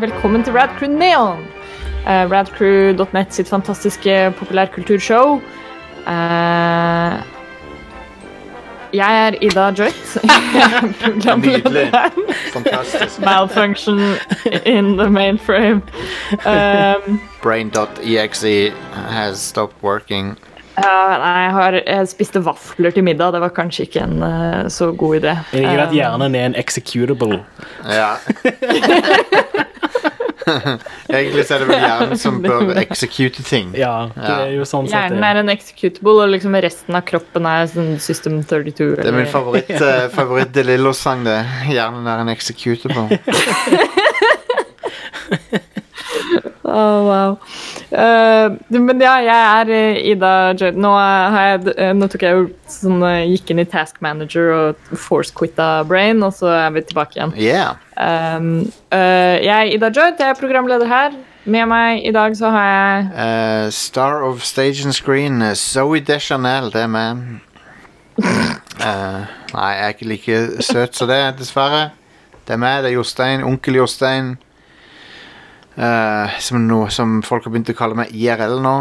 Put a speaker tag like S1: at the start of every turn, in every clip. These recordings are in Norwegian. S1: Velkommen til Radcrew Neon! eh, Radcrew.net sitt fantastiske populærkulturshow. Eh, jeg er Ida Joyt.
S2: Nydelig.
S1: Programleder.
S2: Fantastisk.
S1: Malfunction in the mainframe. Um,
S2: Brain.exe has stopped working.
S1: ja, nei, jeg, har, jeg spiste vafler til middag. Det var kanskje ikke en eh, så god idé. Eh,
S3: Jeg liker
S1: Um,
S3: at hjernen er en executable.
S2: Ja. Egentlig så er det vel hjernen som bør execute ting.
S3: Ja, det
S2: Ja.
S3: er jo sånn sett
S1: Hjernen
S3: det.
S1: er en executable, og liksom resten av kroppen er sånn System 32.
S2: Det er min
S1: Eller,
S2: favoritt, uh, favoritt De Lillo-sang, det. Hjernen er en executable.
S1: Åh, Oh, wow. Eh, du, men ja, jeg er eh, Ida Jød. Nå, eh, har jeg, eh, nå tok jeg jo sånn eh, Gikk inn i Task Manager og force-quitta Brain, og så er vi tilbake igjen.
S2: Yeah.
S1: Um, eh, jeg er Ida Joyd, jeg er programleder her. Med meg i dag så har jeg
S2: Eh, star of stage and screen, eh, Zoe Deschanel, det er meg. Eh, nei, jeg er ikke like søt som det, dessverre. Det er meg, det er Jostein, onkel Jostein. Eh, som, no, som folk har begynt å kalle meg IRL nå.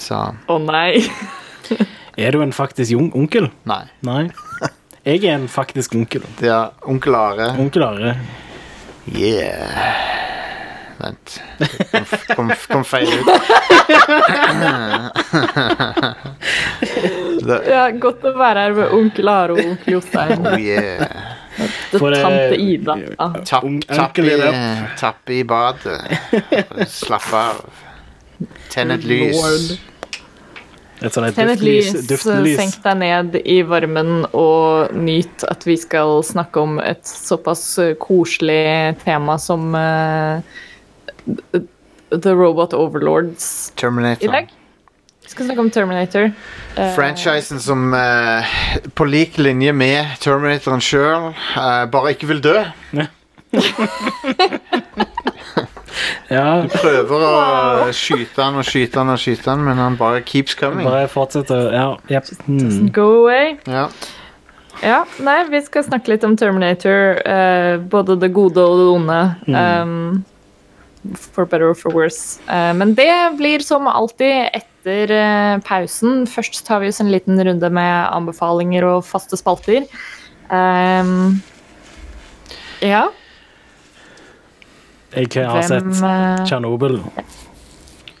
S2: Så
S1: Å nei!
S3: Er du en faktisk ung onkel?
S2: nei.
S3: Nei. Jeg er en faktisk onkel.
S2: Det er onkel Are.
S3: Onkel Are.
S2: Yeah. Vent. Kom, kom, kom feil ut. Det,
S1: Ja, godt å være her med onkel Are og onkel Jostein.
S2: oh yeah.
S1: Det
S3: For, eh,
S1: tante Ida. Ah. Ja.
S2: Tapp,
S3: Ung-
S2: tapp,
S3: onkel
S2: i,
S3: i det.
S2: tapp i badet. Slapp av. Tenn et lys.
S1: Lord.
S3: Et sånt et
S1: Tenn et lys,
S3: duftlys.
S1: eh,
S3: Duftlys.
S1: senk deg ned i varmen og nyt at vi skal snakke om et såpass eh, koselig tema som eh, The Robot Overlords i
S2: Terminator.
S1: dag. Vi skal snakke om Terminator. Eh,
S2: Franchisen som eh, på lik linje med Terminatoren sjøl eh, bare ikke vil dø.
S3: Ja,
S2: Prøver å skyte han og skyte han og skyte han, men han bare keeps coming.
S3: bare fortsett å Ja. jep. Hmm.
S1: Go away.
S2: Ja.
S1: Ja, nei, vi skal snakke litt om Terminator. eh, både det gode og det onde. Um, for better or for worse. Eh, men det blir som alltid etter eh, pausen. Først tar vi oss en liten runde med anbefalinger og faste spalter. Um, ja,
S3: Jeg har
S1: hvem
S3: sett
S1: eh,
S3: Tsjernobyl.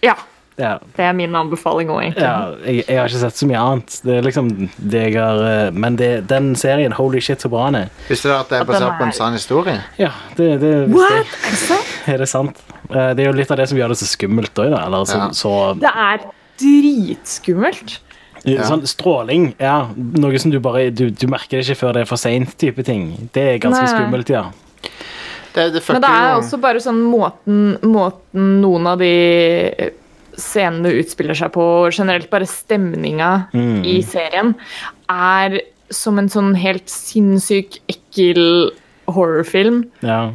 S1: Ja,
S3: Ja.
S1: det er min anbefaling òg, egentlig.
S3: Ja, jeg, jeg har ikke sett så mye annet. Det er liksom det jeg har eh, Men det, den serien, holy shit, så bra den er.
S2: Visste du at det er basert på en sann historie?
S3: Ja, det, det visste
S1: What?
S3: jeg.
S1: Er det sant?
S3: Er det sant? Eh, Det er jo litt av det som gjør det så skummelt òg, da. Eller så,
S2: Ja.
S3: så
S1: Det er dritskummelt.
S2: Ja.
S3: Sånn stråling, ja. Noe som du bare Du, du merker det ikke før det er for seint, type ting. Det er ganske
S1: Nei.
S3: skummelt, ja.
S2: Det, det fucker
S1: Men det er
S2: jo-
S1: også bare sånn måten, måten noen av de eh, scenene utspiller seg på, og generelt bare stemninga i serien, er som en sånn helt sinnssyk, ekkel horrorfilm.
S3: ja.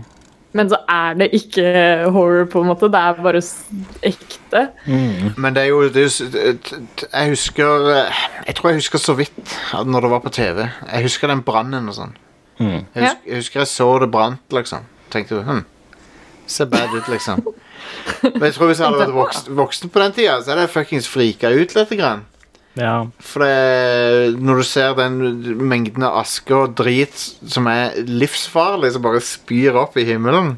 S1: Men så er det ikke horror, på en måte. Det er bare s- ekte.
S2: Men det er jo det er, jo s- t- t- Jeg husker eh, Jeg tror jeg husker så vidt at når det var på TV. Jeg husker den brannen og sånn. Jeg,
S1: Ja.
S2: husker, jeg husker jeg så det brant, liksom. Tenkte jo hm, Ser bad ut, liksom. Men jeg tror hvis jeg hadde vært vokst, voksen på den tida, så hadde jeg fuckings frika ut lite grann.
S3: ja.
S2: For det, når du ser den mengden av aske og drit som er livsfarlig, som bare spyr opp i himmelen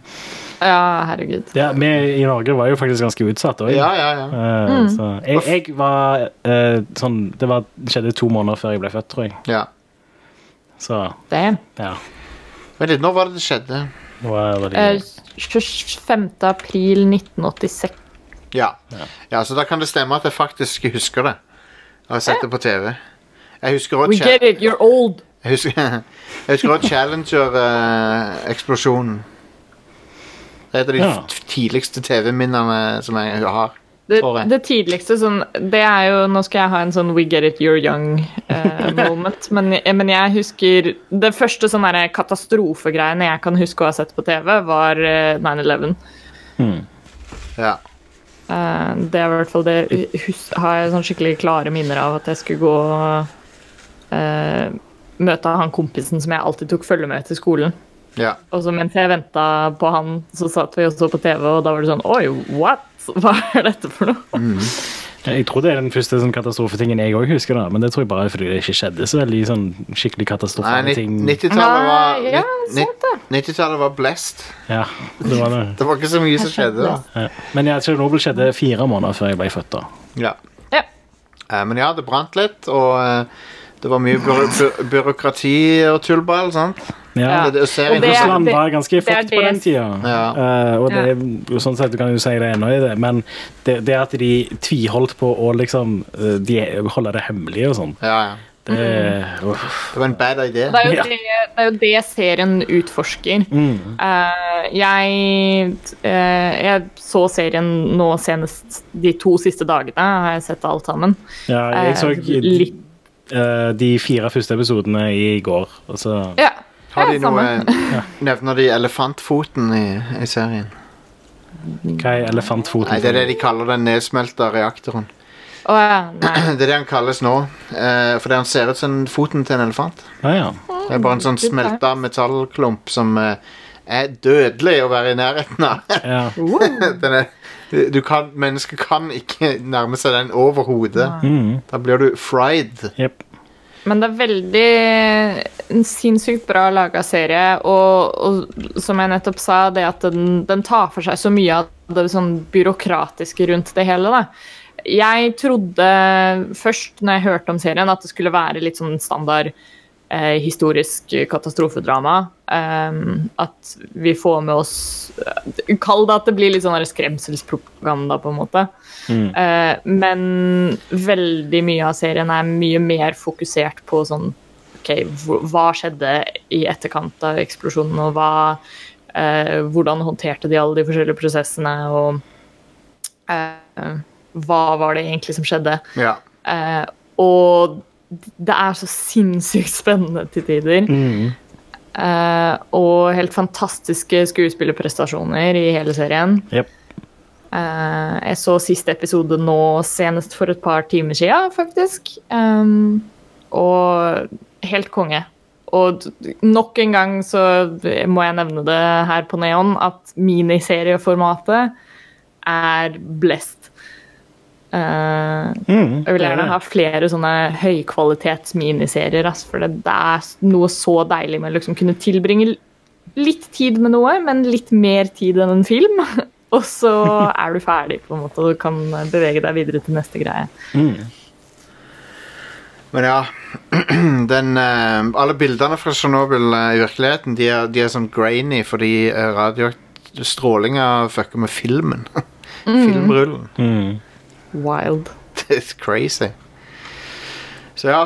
S1: Ja, herregud.
S3: ja vi i Norge var jo faktisk ganske utsatt òg.
S2: Ja, ja, ja.
S1: Mm.
S3: Så jeg, jeg var eh, sånn Det var, skjedde to måneder før jeg ble født, tror jeg.
S2: ja.
S3: Så
S1: Damn.
S3: ja.
S2: Vent litt, når var det det skjedde?
S3: Det var, det var
S1: Eh, 25. april 1986.
S2: Ja. ja, så da kan det stemme at jeg faktisk husker det. Jeg har sett det på TV. Jeg husker
S1: We
S2: også,
S1: get
S2: cha-
S1: it, you're old!
S2: jeg husker, jeg husker også Challenger-eksplosjonen. det er et av de
S3: Ja.
S2: f- tidligste TV-minnene som jeg har.
S1: Det,
S2: Tror jeg.
S1: det tidligste sånn Det er jo Nå skal jeg ha en sånn We get it, you're young eh, moment. Men, men jeg husker Det første sånn derre katastrofegreiene jeg kan huske å ha sett på TV, var eh, 9-11.
S2: Ja.
S1: Eh, det er i hvert fall det hus har jeg sånn skikkelig klare minner av at jeg skulle gå og eh, møte han kompisen som jeg alltid tok følge med til skolen.
S2: Ja.
S1: Og så mens jeg venta på han, så satt vi og så på TV, og da var det sånn Oi, what? Hva er dette for noe?
S3: Jeg tror det er den første sånn katastrofetingen jeg òg husker, da, men det tror jeg bare er fordi det ikke skjedde så veldig sånn skikkelig
S2: Nei,
S3: katastrofale ting.
S2: 90-tallet var,
S1: Nei, ja,
S2: nitt-
S1: sant det.
S2: 90-tallet var blessed.
S3: Ja, det var det.
S2: Det var ikke så mye som skjedde da.
S3: Ja. Men ja, Tsjernobyl skjedde fire måneder før jeg ble født, da.
S2: Ja.
S1: Ja.
S2: Eh, Men ja, det brant litt, og eh, det var mye byro by byråkrati og tullball, sant?
S3: Ja,
S1: Ja.
S2: Det, det, serien,
S1: Og det-
S3: Russland
S1: det-
S3: var ganske
S1: det er
S3: fucked på
S1: det-
S3: den tida.
S2: Ja.
S3: Eh, og det, er jo sånn sett, du kan jo si det ennå, i det, men det, det at de tviholdt på å liksom eh, de holde det hemmelig og sånn,
S2: ja, ja.
S3: det
S1: Mm.
S3: uff.
S2: det var en bad idé.
S1: Det er, jo
S3: Ja.
S1: det, det er jo det serien utforsker. Eh, jeg, eh, jeg så serien nå senest de to siste dagene. Har jeg sett alt sammen.
S3: Ja, jeg så
S1: Eh,
S3: de,
S1: litt-
S3: eh, de fire første episodene i går, og så
S1: Ja.
S2: Har
S1: Ja,
S2: de noe eh, Nevner de elefantfoten i, i serien?
S3: Hva er elefantfoten?
S2: Nei, det er det de kaller den nedsmelta reaktoren.
S1: Å ja. Nei.
S2: Det er det han kalles nå, eh, fordi han ser ut som foten til en elefant.
S3: Ah, ja.
S2: Det er bare en sånn
S1: det er det.
S2: smelta metallklump som eh, er dødelig å være i nærheten av.
S3: Ja.
S2: Den er, du kan, mennesket kan ikke nærme seg den overhodet.
S3: Mm.
S2: Da blir du fried.
S3: Jep.
S1: Men det er veldig en sinnssykt bra laga serie, og, og som jeg nettopp sa, det at den, den tar for seg så mye av det sånn byråkratiske rundt det hele. da. Jeg trodde først når jeg hørte om serien, at det skulle være litt sånn standard eh, historisk katastrofedrama. Ehm, at vi får med oss eh, Kall det at det blir litt sånn der skremselspropaganda, på en måte. Eh, men veldig mye av serien er mye mer fokusert på sånn OK, hv- hva skjedde i etterkant av eksplosjonen, og hva eh, Hvordan håndterte de alle de forskjellige prosessene, og eh, hva var det egentlig som skjedde?
S2: Ja.
S1: Eh, og det er så sinnssykt spennende til tider. Eh, og helt fantastiske skuespillerprestasjoner i hele serien.
S3: Jep.
S1: Eh, jeg så siste episode nå senest for et par timer siden, faktisk. Ehm, og helt konge. Og d- d- nok en gang så må jeg nevne det her på Neon, at miniserieformatet er blessed. Eh,
S3: Mm.
S1: jeg vil gjerne ha flere sånne høykvalitets miniserier, ass, for det, det er s- noe så deilig med å liksom kunne tilbringe l- litt tid med noe, men litt mer tid enn en film. Og så er du ferdig, på en måte, og du kan bevege deg videre til neste greie.
S2: Men ja den, eh, Alle bildene fra Tsjernobyl eh, i virkeligheten de er, de er sånn grainy fordi uh, radiostrålinga fucker med filmen. Filmrullen.
S3: Mm.
S1: Wild.
S2: Det er crazy. Så ja.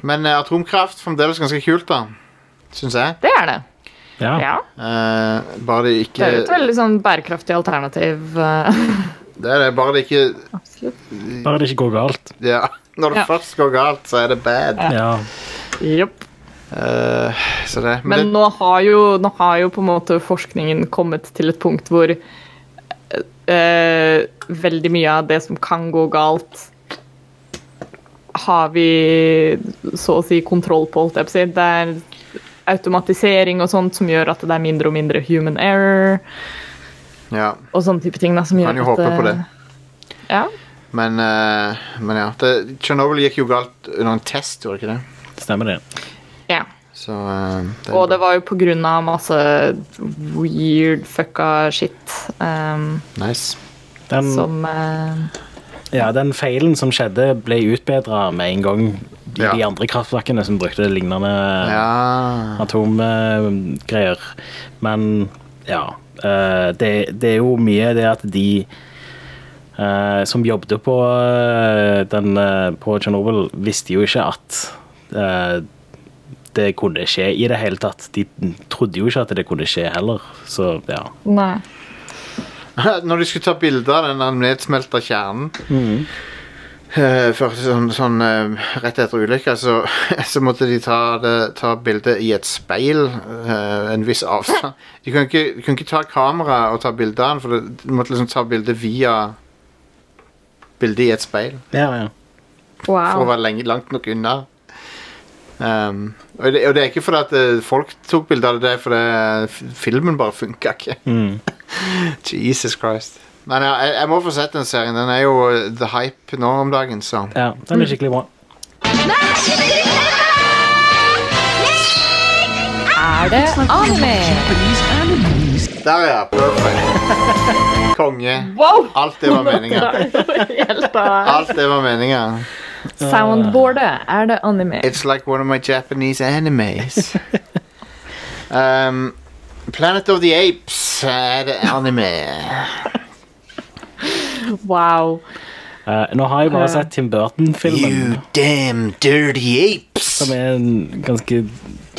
S2: Men eh, atomkraft fremdeles ganske kult, da. Syns jeg.
S1: Det er det.
S3: Ja.
S1: Ja.
S2: Eh, bare det ikke
S1: Det er jo et veldig sånn bærekraftig alternativ. eh,
S2: Det er det, bare det ikke
S1: Absolutt.
S3: Bare det ikke går galt.
S2: ja. Når det
S1: Ja.
S2: først går galt, så er det bad.
S3: Ja.
S1: Jopp.
S2: Eh, så det, men
S1: Men
S2: det,
S1: nå har, jo, nå har jo på en måte forskningen kommet til et punkt hvor eh, veldig mye av det som kan gå galt, har vi så å si kontroll på, holdt jeg på å si. Det er automatisering og sånt som gjør at det er mindre og mindre human error
S2: ja,
S1: og sånne type ting. Da, som gjør
S2: kan jo
S1: at,
S2: håpe på det.
S1: eh, Ja.
S2: Men, eh, men ja. Det, Chernobyl gikk jo galt under en test, gjorde ikke det?
S3: Stemmer det.
S1: ja.
S2: Så eh, det,
S1: Og det var jo på grunn av masse weird fucka shit ehm,
S2: Nice. Mm.
S3: Den,
S1: som eh,
S3: ja, den feilen som skjedde, ble utbedra med en gang. De,
S2: Ja.
S3: de andre kraftverkene som brukte lignende
S2: Ja.
S3: atomgreier. Men ja. eh, det, det er jo mye det at de eh, som jobbet på eh, den eh, på Tsjernobyl, visste jo ikke at eh, det kunne skje i det hele tatt. De trodde jo ikke at det kunne skje heller, så ja.
S1: Nei.
S2: Når de skulle ta bilder av den der nedsmelta kjernen eh, først sånn, sånn eh, Rett etter ulykka så, så måtte de ta, det, ta bildet i et speil eh, en viss avstand. De kunne ikke, de kunne ikke ta kamera og ta bilder av den, for det- de måtte liksom ta bildet via bilde i et speil
S3: Ja, ja.
S2: for å
S1: Wow.
S2: være lenge, langt nok unna. Um, og, det, og det er ikke fordi at eh, folk tok bilde av det, det er fordi eh, f- filmen bare funka ikke.
S3: Mm.
S2: Jesus Christ. Men ja, jeg, jeg må få sett den serien. Den er jo eh, the hype nå om dagen, så
S3: ja. Den er skikkelig bra.
S1: Er det anime?
S2: Der, ja. Perfect. Konge.
S1: Wow!
S2: Alt det var meninga.
S1: Helt av
S2: Alt det var meninga.
S1: Soundboardet. Er det anime?
S2: It's like one of my Japanese animes. um, Planet of the Apes er det anime.
S1: Wow.
S3: Eh, nå har jeg bare
S1: Ja.
S3: sett Tim Burton-filmen,
S2: You damn dirty apes.
S3: som er en ganske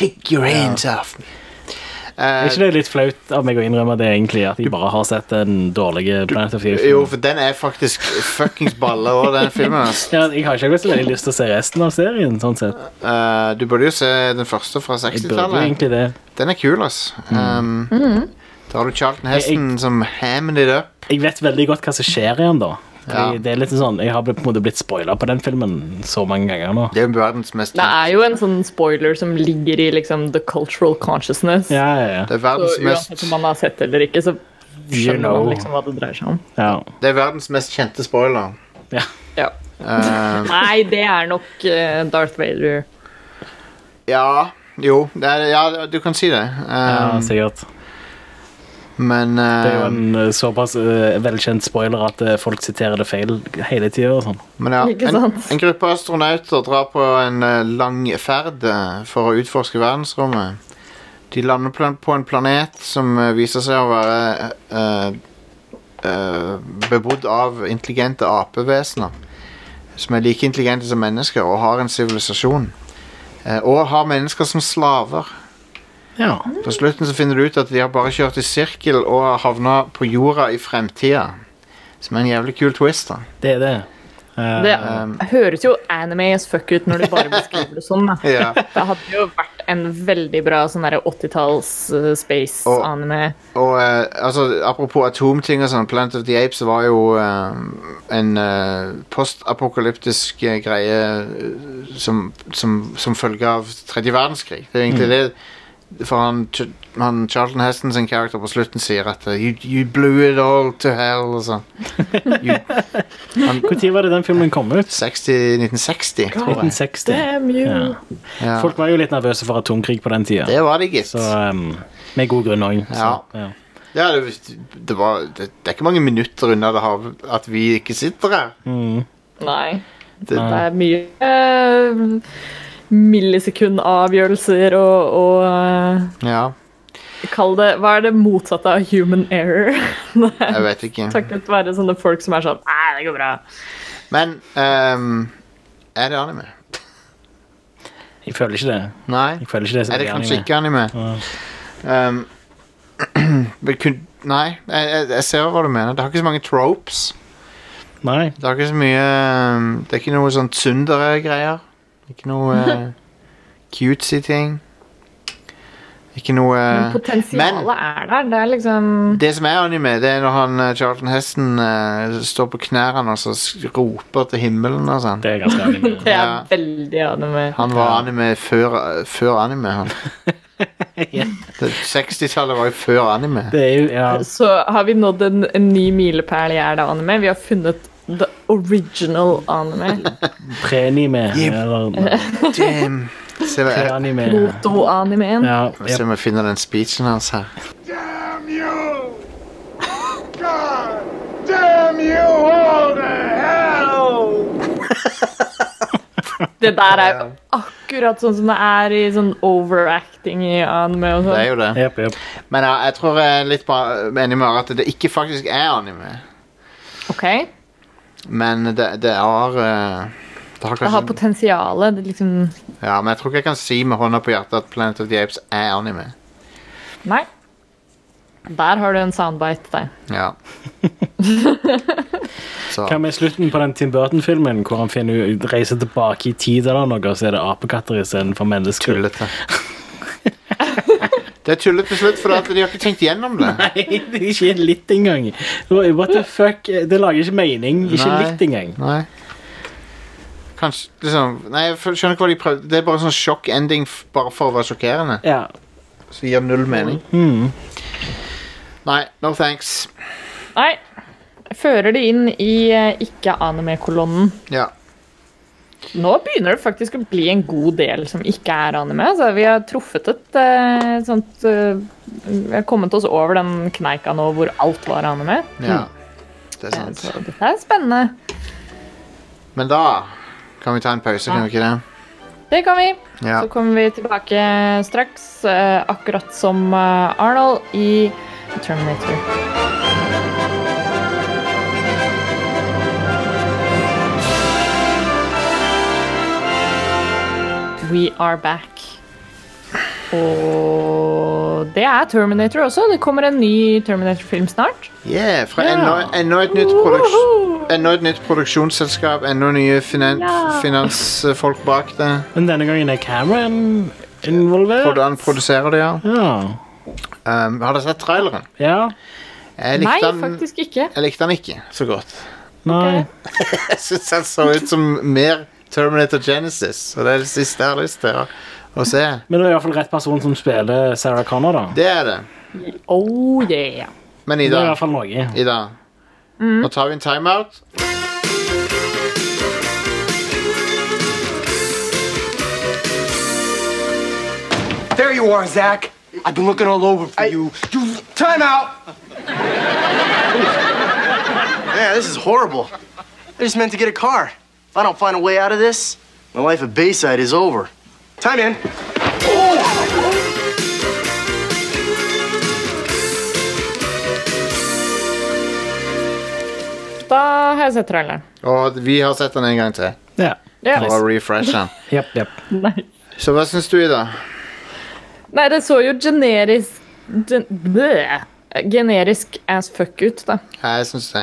S2: Take your hands off me. Eh,
S3: Er ikke det litt flaut av meg å innrømme det, egentlig, at jeg bare har sett den dårlige Planet of the Apes?
S2: jo, for den er faktisk fuckings balle over den filmen. ass.
S3: Ja, jeg har ikke så veldig lyst til å se resten av serien, sånn sett.
S2: Eh, du burde jo se den første fra
S3: Jeg burde jo
S2: 60-tallet.
S3: egentlig Mm. det.
S2: Den er kul, ass. Um, Da har du Charlton Heston som hammed it up.
S3: Jeg vet veldig godt hva som skjer igjen, da. Fordi
S2: Ja.
S3: Det er litt sånn, Jeg har på en måte blitt spoila på den filmen så mange ganger nå.
S2: Det er jo verdens mest
S1: Det er jo en sånn spoiler som ligger i liksom the cultural consciousness.
S3: Ja, ja, ja.
S2: Det er verdens
S1: Så uansett
S2: mest
S1: om man har sett eller ikke, så
S3: You
S1: skjønner
S3: know.
S1: man liksom hva det dreier seg om.
S3: ja.
S2: Det er verdens mest kjente spoiler.
S3: ja.
S1: Ja.
S2: Eh,
S1: Nei, det er nok eh, Darth Vader.
S2: ja Jo, det er, ja, du kan si det.
S3: ja
S2: Um,
S3: sikkert.
S2: men
S3: Det er jo
S2: eh,
S3: en eh, såpass eh, velkjent spoiler at eh, folk siterer det feil hele tida og sånn.
S2: Men ja,
S1: Ikke
S2: en,
S1: sant?
S2: en gruppe astronauter drar på en eh, lang ferd eh, for å utforske verdensrommet. De lander på en, på en planet som eh, viser seg å være eh, eh, bebodd av intelligente apevesener. Som er like intelligente som mennesker og har en sivilisasjon. Eh, og har mennesker som slaver.
S3: Ja.
S2: På slutten så finner du ut at de har bare kjørt i sirkel og har havna på jorda i fremtida. Som er en jævlig kul twist, da.
S3: Det er det. Eh,
S1: Det
S2: Um,
S1: høres jo anime as fuck ut når du bare beskriver det sånn. da.
S2: Ja.
S1: Det hadde jo vært en veldig bra sånn 80-talls eh,
S2: Og-
S1: space-anime.
S2: Og eh, altså, apropos atomting og sånn, Planet of the Apes var jo eh, en eh, postapokalyptisk eh, greie eh, som, som, som følge av tredje verdenskrig. Det er egentlig
S3: Mm.
S2: det For han, Ch- han Charlton Heston sin karakter på slutten sier at eh, you, you blew it all to hell og sånn. You- han-
S3: Når var det den filmen kom ut?
S2: 60, 1960, tror jeg.
S3: 1960.
S1: Damn you!
S3: Ja.
S2: Ja.
S3: Folk var jo litt nervøse for atomkrig på den tida.
S2: Det var det, gitt.
S3: Så um, med god grunn òg.
S2: Ja. Ja, det, det, var, det, det er ikke mange minutter unna det har, at vi ikke sitter her.
S3: Mm.
S1: Nei. Det
S2: Det,
S1: er mye eh, millisekundavgjørelser og, og eh,
S2: ja,
S1: Kall det Hva er det motsatte av human error?
S2: jeg vet ikke.
S1: Takket være sånne folk som er sånn Nei, det går bra.
S2: Men ehm, er det anime?
S3: Jeg føler ikke det.
S2: Nei.
S3: Jeg føler ikke det som
S2: Er det
S3: er
S2: kanskje
S3: anime.
S2: ikke anime? Ehm, men kun, nei, jeg, jeg, jeg ser hva du mener. Det har ikke så mange tropes.
S3: Nei.
S2: Det har ikke så mye ehm, Det er ikke noe sånn tsundere-greier. Ikke noe eh, cutesy ting. Ikke noe eh,
S1: Potensialet er der. Det er liksom
S2: Det som er anime, det er når han eh, Charlton Heston eh, står på knærne og så s- roper til himmelen og sånn.
S3: Det er ganske anime.
S1: Det er
S2: Ja.
S1: veldig anime.
S2: Han var anime før, før anime, han.
S3: Ja.
S2: Det- 60-tallet var jo før anime.
S3: Det er jo ja.
S1: Så har vi nådd en, en ny milepæl i Er det anime. Vi har funnet the original anime.
S3: pre-anime
S2: Jep.
S3: eller
S2: Damn. Se hva jeg,
S3: pre-anime.
S1: Proto-animeen.
S3: Ja,
S2: se
S3: jep.
S2: om jeg finner den speechen hans her.
S4: Damn you! God damn you all to hell!
S1: Det der er jo akkurat sånn som det er i sånn overacting i anime og
S2: Det er
S1: sånn.
S2: jo det.
S3: Jep, jep.
S2: Men ja, jeg tror jeg er litt bra- enig med Are at det ikke faktisk er anime.
S1: Ok?
S2: Men det, det er eh, det har
S1: Det har
S2: kanskje,
S1: potensialet. Det liksom
S2: ja, men jeg tror ikke jeg kan si med hånda på hjertet at Planet of the Apes er anime.
S1: Nei. Der har du en soundbite til deg.
S2: Ja. Så
S3: Hva med slutten på den Tim Burton-filmen, hvor han finner ut- reiser tilbake i tid eller noe, og så er det apekatter istedenfor mennesker?
S2: tullete. Det Det er tullet til slutt, for at de har ikke tenkt gjennom det.
S3: Nei, det er ikke litt engang. What the fuck? Det lager ikke mening. Ikke
S2: Nei.
S3: litt engang.
S2: Nei. Kanskje liksom Nei, jeg skjønner ikke hva de prøvde. Det er bare sånn sjokk-ending f- bare for å være sjokkerende.
S3: Ja.
S2: Som gir null mening.
S3: Hmm.
S1: Mm.
S2: Nei, no thanks.
S1: Nei. Fører det inn i eh, ikke-anime-kolonnen.
S2: Ja.
S1: Nå begynner det faktisk å bli en god del som ikke er anime. Så vi har truffet et eh, sånt eh, Vi har kommet oss over den kneika nå hvor alt var anime.
S2: ja. Det
S1: Eh,
S2: er sant.
S1: Så dette er spennende.
S2: Men da kan vi ta en pause, kan vi ikke det?
S1: Det kan vi.
S2: Ja.
S1: Så kommer vi tilbake straks, eh, akkurat som eh, Arnold i Terminator. We are back. Og det er Terminator også. Det kommer en ny Terminator-film snart.
S2: Yeah, fra
S3: Ja.
S2: enda, enda, et nytt produks-
S1: Woohoo!
S2: enda et nytt produksjonsselskap, enda nye finan
S1: Ja.
S2: finansfolk bak det.
S3: Men denne gangen er Cameron involvert.
S2: Hvordan produserer de, ja.
S3: Ja.
S2: Um, har dere sett traileren?
S3: ja.
S1: Nei,
S2: Jeg likte, den,
S1: faktisk ikke.
S2: jeg likte den ikke så godt.
S3: Nei.
S1: Ok.
S2: Jeg syns den så ut som mer Terminator Genesis, og det er det siste jeg har lyst til å, å se.
S3: Men det er iallfall rett person som spiller Sarah Connor, da.
S2: Det er det.
S1: Oh yeah.
S2: Men
S3: Det er
S2: Ida,
S3: iallfall noe.
S2: Ida
S1: Mm.
S2: nå tar vi en timeout.
S5: There you are, Zach. I've been looking all over for you. You time out.
S6: Yeah, this is horrible. I just meant to get a car. If I don't find a way out of this, my life at Bayside is over.
S5: Time in.
S1: Da har jeg sett traileren.
S2: Og vi har sett den en gang til.
S3: Ja.
S1: Ja.
S2: For å refreshe den.
S3: Jepp, jepp.
S1: Nei.
S2: Så hva syns du, Ida?
S1: Nei, det så jo generisk gen, bleh, Generisk as fuck ut, da.
S2: Ja, jeg syns det.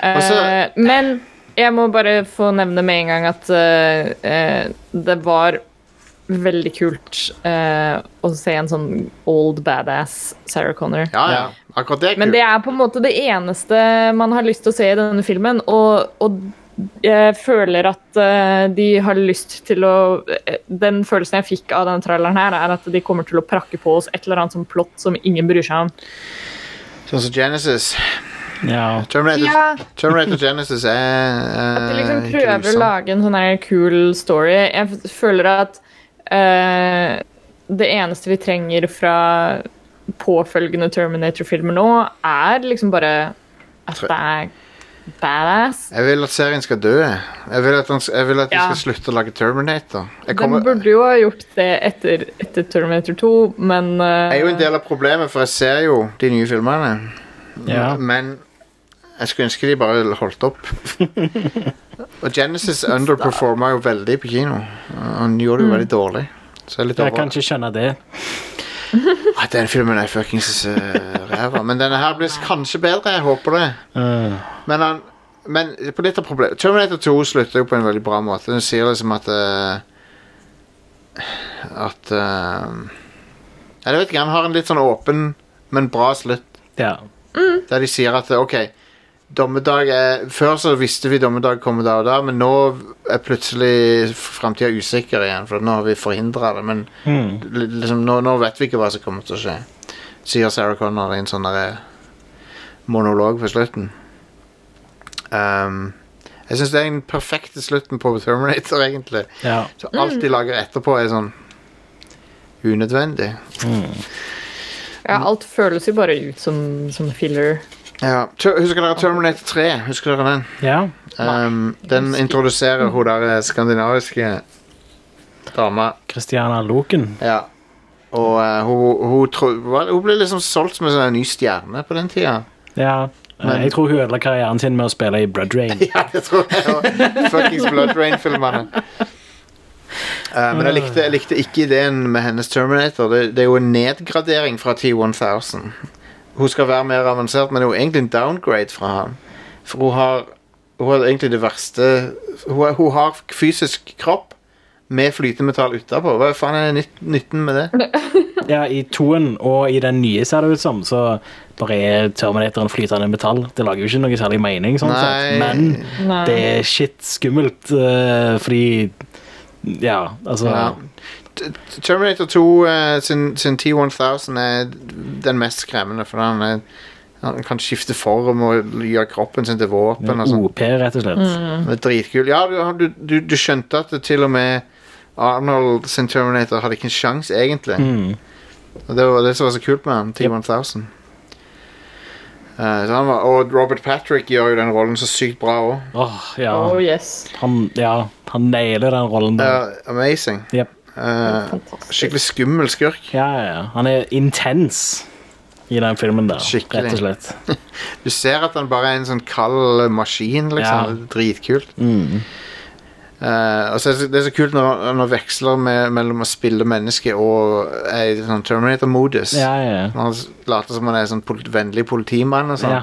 S1: Eh,
S2: Altså-
S1: men jeg må bare få nevne med en gang at eh, eh, det var veldig kult eh, å se en sånn old badass Sarah Connor.
S2: Ja, ja. Akkurat det er
S1: Men
S2: kult.
S1: det er på en måte det eneste man har lyst til å se i denne filmen, og, og jeg føler at eh, de har lyst til å eh, Den følelsen jeg fikk av denne traileren, her, er at de kommer til å prakke på oss et eller annet sånn plott som ingen bryr seg om.
S2: Sånn som Genesis.
S3: Ja.
S2: Terminator,
S1: Ja.
S2: Terminator Genesis er
S1: At de
S2: eh,
S1: liksom
S2: ikke
S1: prøver å
S2: liksom-
S1: lage en sånn her cool story. Jeg f- føler at eh, det eneste vi trenger fra påfølgende Terminator-filmer nå, er liksom bare at det er badass.
S2: Jeg vil at serien skal dø. Jeg vil at, han, jeg vil at de
S1: Ja.
S2: skal slutte å lage Terminator. Jeg
S1: Den burde jo ha gjort det etter, etter Terminator 2, men eh,
S2: Jeg er jo en del av problemet, for jeg ser jo de nye filmene.
S3: ja.
S2: Men jeg skulle ønske de bare holdt opp. Og Genesis underperforma jo veldig på kino. Han gjorde det jo veldig dårlig. Så jeg er litt
S3: Jeg kan
S2: over
S3: ikke skjønne Mm. det.
S2: ah, Den filmen er fuckings eh, ræva. Men denne her blir kanskje bedre. Jeg håper det.
S3: Uh,
S2: Men han men på litt av problemet Terminator 2 slutter jo på en veldig bra måte. Den sier liksom at eh, At eh, Jeg vet ikke, han har en litt sånn åpen, men bra slutt.
S3: ja.
S2: Der de sier at ok, dommedag er, før så visste vi dommedag kommer da og da, men nå er plutselig fremtida usikker igjen, for nå har vi forhindret det, men
S3: Hmm.
S2: li- liksom, nå, nå vet vi ikke hva som kommer til å skje. Sier Sarah Connor i en sånn derre monolog på slutten. Ehm, jeg synes det er den perfekte slutten på Terminator, egentlig.
S3: ja.
S2: Så alt de lager etterpå er sånn unødvendig.
S1: eh, ja, alt føles jo bare ut som, som filler.
S2: Ja. Ter- Husker dere Terminator 3? Husker dere den?
S3: Ja.
S2: Um, den introduserer hun der eh, skandinaviske dama.
S3: Christiana Loken.
S2: Ja. Og eh, hun, hun, tro, hva- hun ble liksom solgt som en sånn ny stjerne på den tida.
S3: Ja. Eh,
S2: Men-
S3: jeg tror hun ødela karrieren sin med å spille i Blood Rain.
S2: Ja, det tror jeg også. Fuckings Blood Rain-filmene. Eh, men jeg likte, jeg likte ikke ideen med hennes Terminator. Det, det er jo en nedgradering fra T1000. Hun skal være mer avansert, men det er jo egentlig en downgrade fra ham. For hun har, hun har egentlig det verste hun, er- hun har fysisk kropp med flytemetall utapå. Hva faen er nytt, nytten med det?
S3: Ja, I toen og i den nye, ser det ut som, så bare er Terminatoren flytende metall. Det lager jo ikke noe særlig mening, sånn
S2: Nei.
S3: sett. men
S1: Nei.
S3: det er shit skummelt, eh, fordi Ja, altså
S2: Ja. T- T- Terminator 2 eh, sin, sin T1000 er den mest skremmende, for han, er, han kan skifte form og gjøre kroppen sin til våpen. og sånt.
S3: OP, rett og slett.
S2: Det er dritkul. Ja, du, du, du, du skjønte at det til og med Arnold sin Terminator hadde ikke en sjanse, egentlig. Og det var det som var så kult med han, T1000. Eh, så han var, og Robert Patrick gjør jo den rollen så sykt bra òg.
S3: Åh, ja.
S1: Oh yes.
S3: Han, ja, han nailer den rollen der.
S2: amazing.
S3: Jep.
S2: Eh,
S1: Fantastisk.
S2: skikkelig skummel skurk.
S3: Ja, ja, ja. Han er intens i den filmen der,
S2: Skikkelig.
S3: rett og slett.
S2: Du ser at han bare er en sånn kald maskin, liksom.
S3: Ja.
S2: Det er dritkult. Eh, og så er det, så- det er så kult når når han veksler med, mellom å spille menneske og er i sånn Terminator-modus.
S3: Ja, ja, ja.
S2: Han s- later som han er sånn pol vennlig politimann og sånn.
S3: Ja.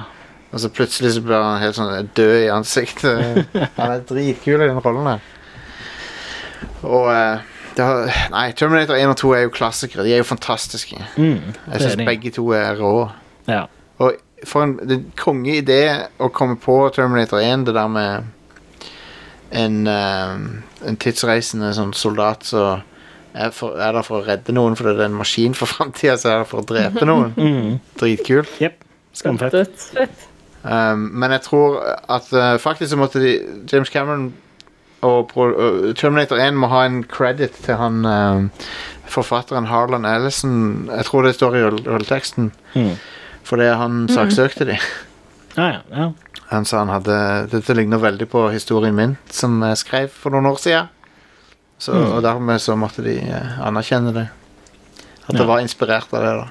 S2: Og så plutselig så blir han helt sånn død i ansiktet. han er dritkul i den rollen der. Og eh, det har, Nei, Terminator 1 og 2 er jo klassikere. De er jo fantastiske.
S3: Mm.
S2: Jeg
S3: det er
S2: syns
S3: de.
S2: begge to er rå.
S3: ja.
S2: Og for en det er en konge idé å komme på Terminator 1, det der med en, eh, en tidsreisende sånn soldat som er, for, er der for å redde noen fordi det er en maskin for framtida, så er der for å drepe noen. Dritkult.
S3: Jep. Skamfett.
S1: Dødsfett.
S2: Um, men jeg tror at eh, faktisk så måtte de James Cameron og pro, og Terminator 1 må ha en credit til han eh, forfatteren Harlan Ellison. Jeg tror det står i rull- rulleteksten.
S3: Mhm.
S2: Fordi han saksøkte de.
S3: Ja, ja, ja.
S2: Han sa han hadde Dette ligner veldig på historien min, som jeg skrev for noen år siden. Så,
S3: Mm.
S2: Og dermed så måtte de eh, anerkjenne det. At
S3: Ja.
S2: det var inspirert av det, da.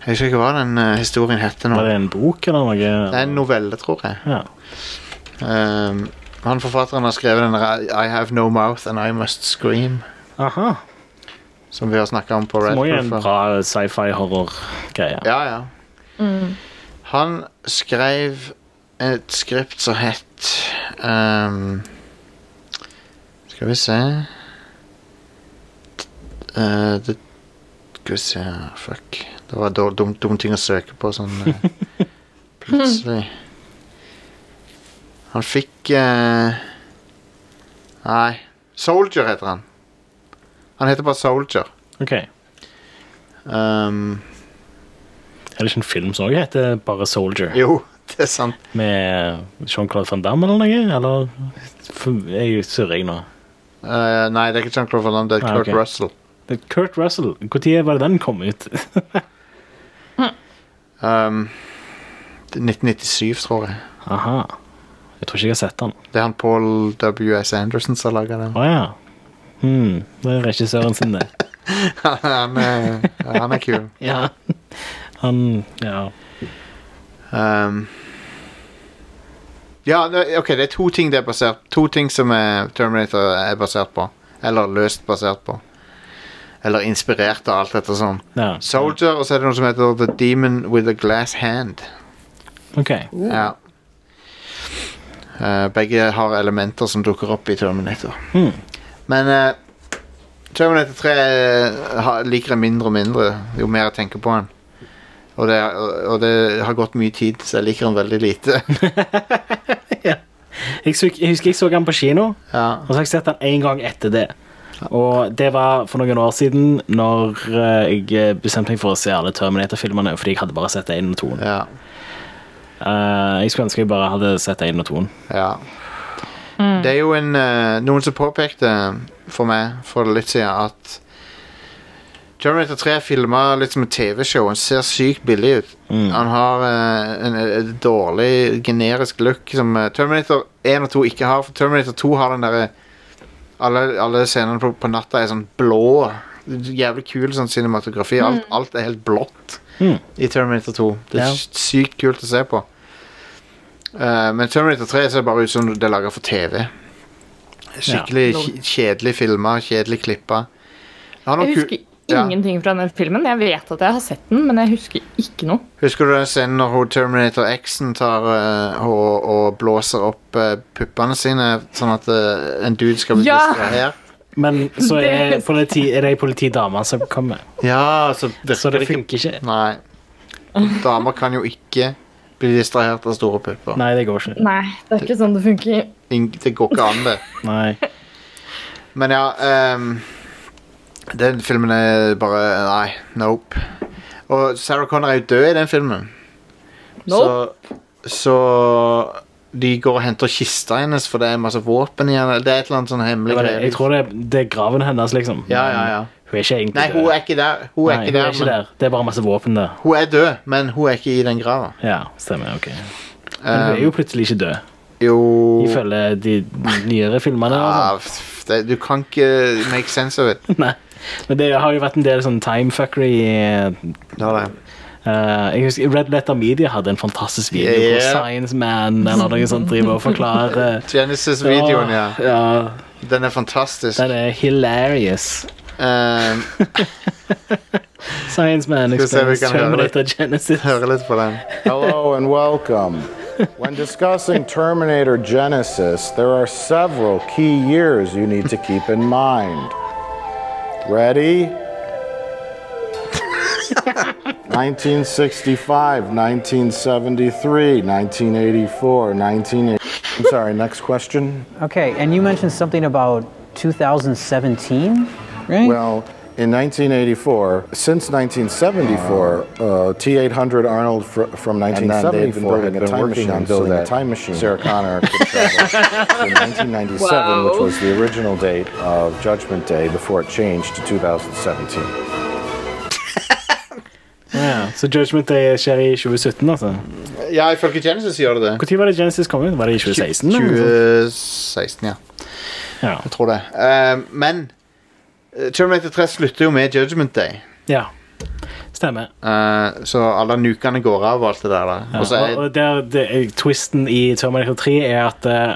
S2: Jeg husker ikke hva den eh, historien heter nå.
S3: Var det en bok eller noe?
S2: Det er en novelle, tror jeg.
S3: Ja.
S2: Um, han forfatteren har skrevet den der I have no mouth and I must scream.
S3: Aha.
S2: Som vi har snakka om på Red
S3: Som også er en
S2: Bull før.
S3: bra sci-fi-horror-greie.
S2: Ja, ja. Han skrev et skript som het um, Skal vi se Eh, det, Skal vi se Fuck. Det var dår- dum, dum ting å søke på sånn eh, plutselig. Han fikk eh, Nei. Soldier heter han. Han heter bare Soldier.
S3: Ok. Er
S2: Um,
S3: det ikke en film som også heter bare Soldier?
S2: jo, det er sant.
S3: Med Jean-Claude Van Damme eller noe? Eller For- jeg surrer jeg nå.
S2: Eh, nei, det er ikke Jean-Claude Van Damme, det er
S3: Nei,
S2: Kurt
S3: ok.
S2: Russell.
S3: Det er Kurt Russell. Når var det den kom ut?
S2: Um, det er 1997, tror jeg.
S3: Aha. Jeg tror ikke jeg har sett den.
S2: Det er han Paul W.S. Anderson som lager den.
S3: Å ja. Hmm. Det er regissøren sin, det.
S2: han, er, ja, han er kul.
S3: Ja. Han Ja.
S2: Um, ja, det- ok, det er to ting det er basert To ting som er Terminator er basert på. Eller løst basert på. Eller inspirert av alt dette sånn.
S3: ja.
S2: Soldier, og så er det noe som heter The Demon With A Glass Hand.
S3: OK.
S2: Ja. Eh, begge har elementer som dukker opp i Terminator. Men eh, Terminator 3 har, liker jeg mindre og mindre jo mer jeg tenker på den. Og det, og, og det har gått mye tid, så jeg liker den veldig lite.
S3: Jeg, suk- jeg husker jeg så den på kino.
S2: ja.
S3: Og så har jeg sett den en gang etter det. Og det var for noen år siden når eh, jeg bestemte meg for å se alle Terminator-filmene, fordi jeg hadde bare sett én og toen.
S2: Ja.
S3: Eh, jeg skulle ønske jeg bare hadde sett én og toen.
S2: ja. Det er jo en eh, Noen som påpekte for meg for litt siden at Terminator 3 er filma litt som et TV-show. Han ser sykt billig ut. Han har eh, en, en dårlig generisk look som eh, Terminator 1 og 2 ikke har. For Terminator 2 har den derre alle, alle scenene på, på natta er sånn blå. Jævlig kul sånn cinematografi. Alt, alt er helt blått
S3: Mm.
S2: i Terminator 2. Det er
S3: Ja.
S2: sy- sykt kult å se på. Eh, men Terminator 3 ser bare ut som det er laga for TV. Skikkelig
S1: Ja.
S2: kj- kjedelig filma, kjedelig klippa. Det har noen
S1: Jeg
S2: ku-
S1: husker
S2: Ja.
S1: ingenting fra den filmen. Jeg vet at jeg har sett den, men jeg husker ikke noe.
S2: Husker du den scenen når hun Terminator X-en tar eh, og, og blåser opp eh, puppene sine, sånn at eh, en dude skal bli
S1: Ja!
S2: distrahert?
S3: Men så er
S1: Det-
S3: politi, er det ei politidame som kommer.
S2: Ja, så det,
S3: Så det funker ikke.
S2: Nei. Damer kan jo ikke bli distrahert av store pupper.
S3: Nei, det går ikke.
S1: Nei, det er ikke sånn det funker.
S2: Ing- Det går ikke an, det.
S3: Nei.
S2: Men ja ehm, Den filmen er bare Nei, nope. Og Sarah Connor er jo død i den filmen.
S1: Nope.
S2: Så, så de går og henter kista hennes, for det er masse våpen i den. Det er et eller annet sånn hemmelig
S3: Det var det.
S2: greie.
S3: Jeg tror det, det er graven hennes, liksom.
S2: Ja, ja, ja.
S3: Hun er ikke egentlig
S2: Nei, hun
S3: død.
S2: er ikke der. Hun er
S3: Nei,
S2: ikke der, men
S3: der. Det er bare masse våpen der.
S2: hun er død, men hun er ikke i den grava.
S3: Ja, stemmer. ok. Men hun er
S2: Um,
S3: jo plutselig ikke død,
S2: Jo
S3: ifølge de nyere filmene.
S2: ja,
S3: og
S2: f- det, Du kan ikke make sense of it.
S3: sånn. Nei. Men det har jo vært en del sånn timefackery eh,
S2: Det var det.
S3: Eh, jeg husker Red Letter Media hadde en fantastisk video hvor
S2: Yeah.
S3: Science Man eller noe sånt driver og forklarer.
S2: Genesis-videoen, ja.
S3: Åh, ja.
S2: Den er fantastisk.
S3: Den er hilarious.
S2: Ehm,
S3: Science Man
S2: vi se om vi
S3: explains
S2: kan høre det?
S3: Terminator Genesis.
S2: høre litt på den.
S7: Hello and welcome. When discussing Terminator Genesis, there are several key years you need to keep in mind. Ready? 1965, 1973, 1984, 1980. I'm sorry, next question.
S8: Okay, and you mentioned something about 2017, right?
S7: Well, in 1984, since 1974, uh, T-800 Arnold fr- from 1974 had been working on building a time machine. Sarah Connor could travel in 1997, which
S1: Wow.
S7: was the original date of Judgment Day before it changed to 2017.
S3: Ja, så Judgment Day skjer i 2017, altså.
S2: Ja, ifølge Genesis gjør det det.
S3: Når var det Genesis kom ut? Var det i 2016? eller noe sånt?
S2: 2016, ja.
S3: Ja.
S2: Jeg tror det. Ehm, men eh, Terminator 3 slutter jo med Judgment Day.
S3: ja. Stemmer.
S2: Eh, så alle nukene går av og alt det der. da. Og så
S3: Ja, og-
S2: er
S3: og der, det, twisten i Terminator 3 er at eh,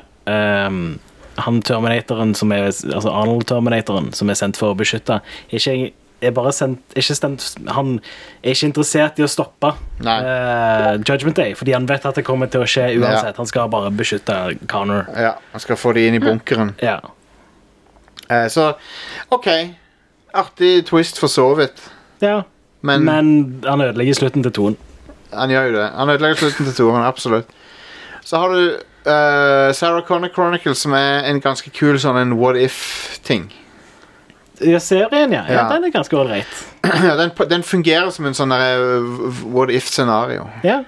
S3: um, han Terminatoren, som er, altså Arnold-Terminatoren, som er sendt for å beskytte, er ikke, er bare sendt, er ikke sendt, han er ikke interessert i å stoppe
S2: Nei.
S3: eh, Judgment Day, fordi han vet at det kommer til å skje uansett.
S2: Ja.
S3: Han skal bare beskytte Connor.
S2: ja, man skal få de inn i bunkeren.
S3: Ja.
S2: Eh, så OK. Artig twist for så vidt.
S3: ja.
S2: Men,
S3: Men, han ødelegger slutten til toen.
S2: han gjør jo det. Han ødelegger slutten til toeren, absolutt. Så har du eh, Sarah Connor Chronicles, som er en ganske kul sånn en what if-ting.
S3: Ja, serien, ja. ja.
S2: Ja.
S3: Den er ganske ålreit.
S2: den, den fungerer som en sånn der, eh, what if-scenario.
S3: Ja.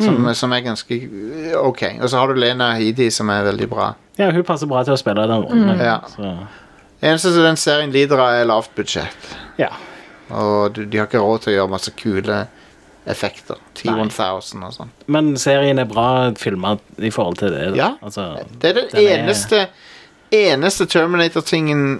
S2: Som,
S3: Mm.
S2: som er ganske eh, ok. Og så har du Lena Headey, som er veldig bra.
S3: ja, hun passer bra til å spille den rollen.
S2: Mm. Ja.
S3: Så,
S2: Det eneste som den serien lider av, er lavt budsjett.
S3: ja.
S2: Og du, de har ikke råd til å gjøre masse kule effekter. T1000 og sånn.
S3: Men serien er bra filma i forhold til det. da.
S2: Ja.
S3: Altså,
S2: Det er den,
S3: den er-
S2: eneste, eneste Terminator-tingen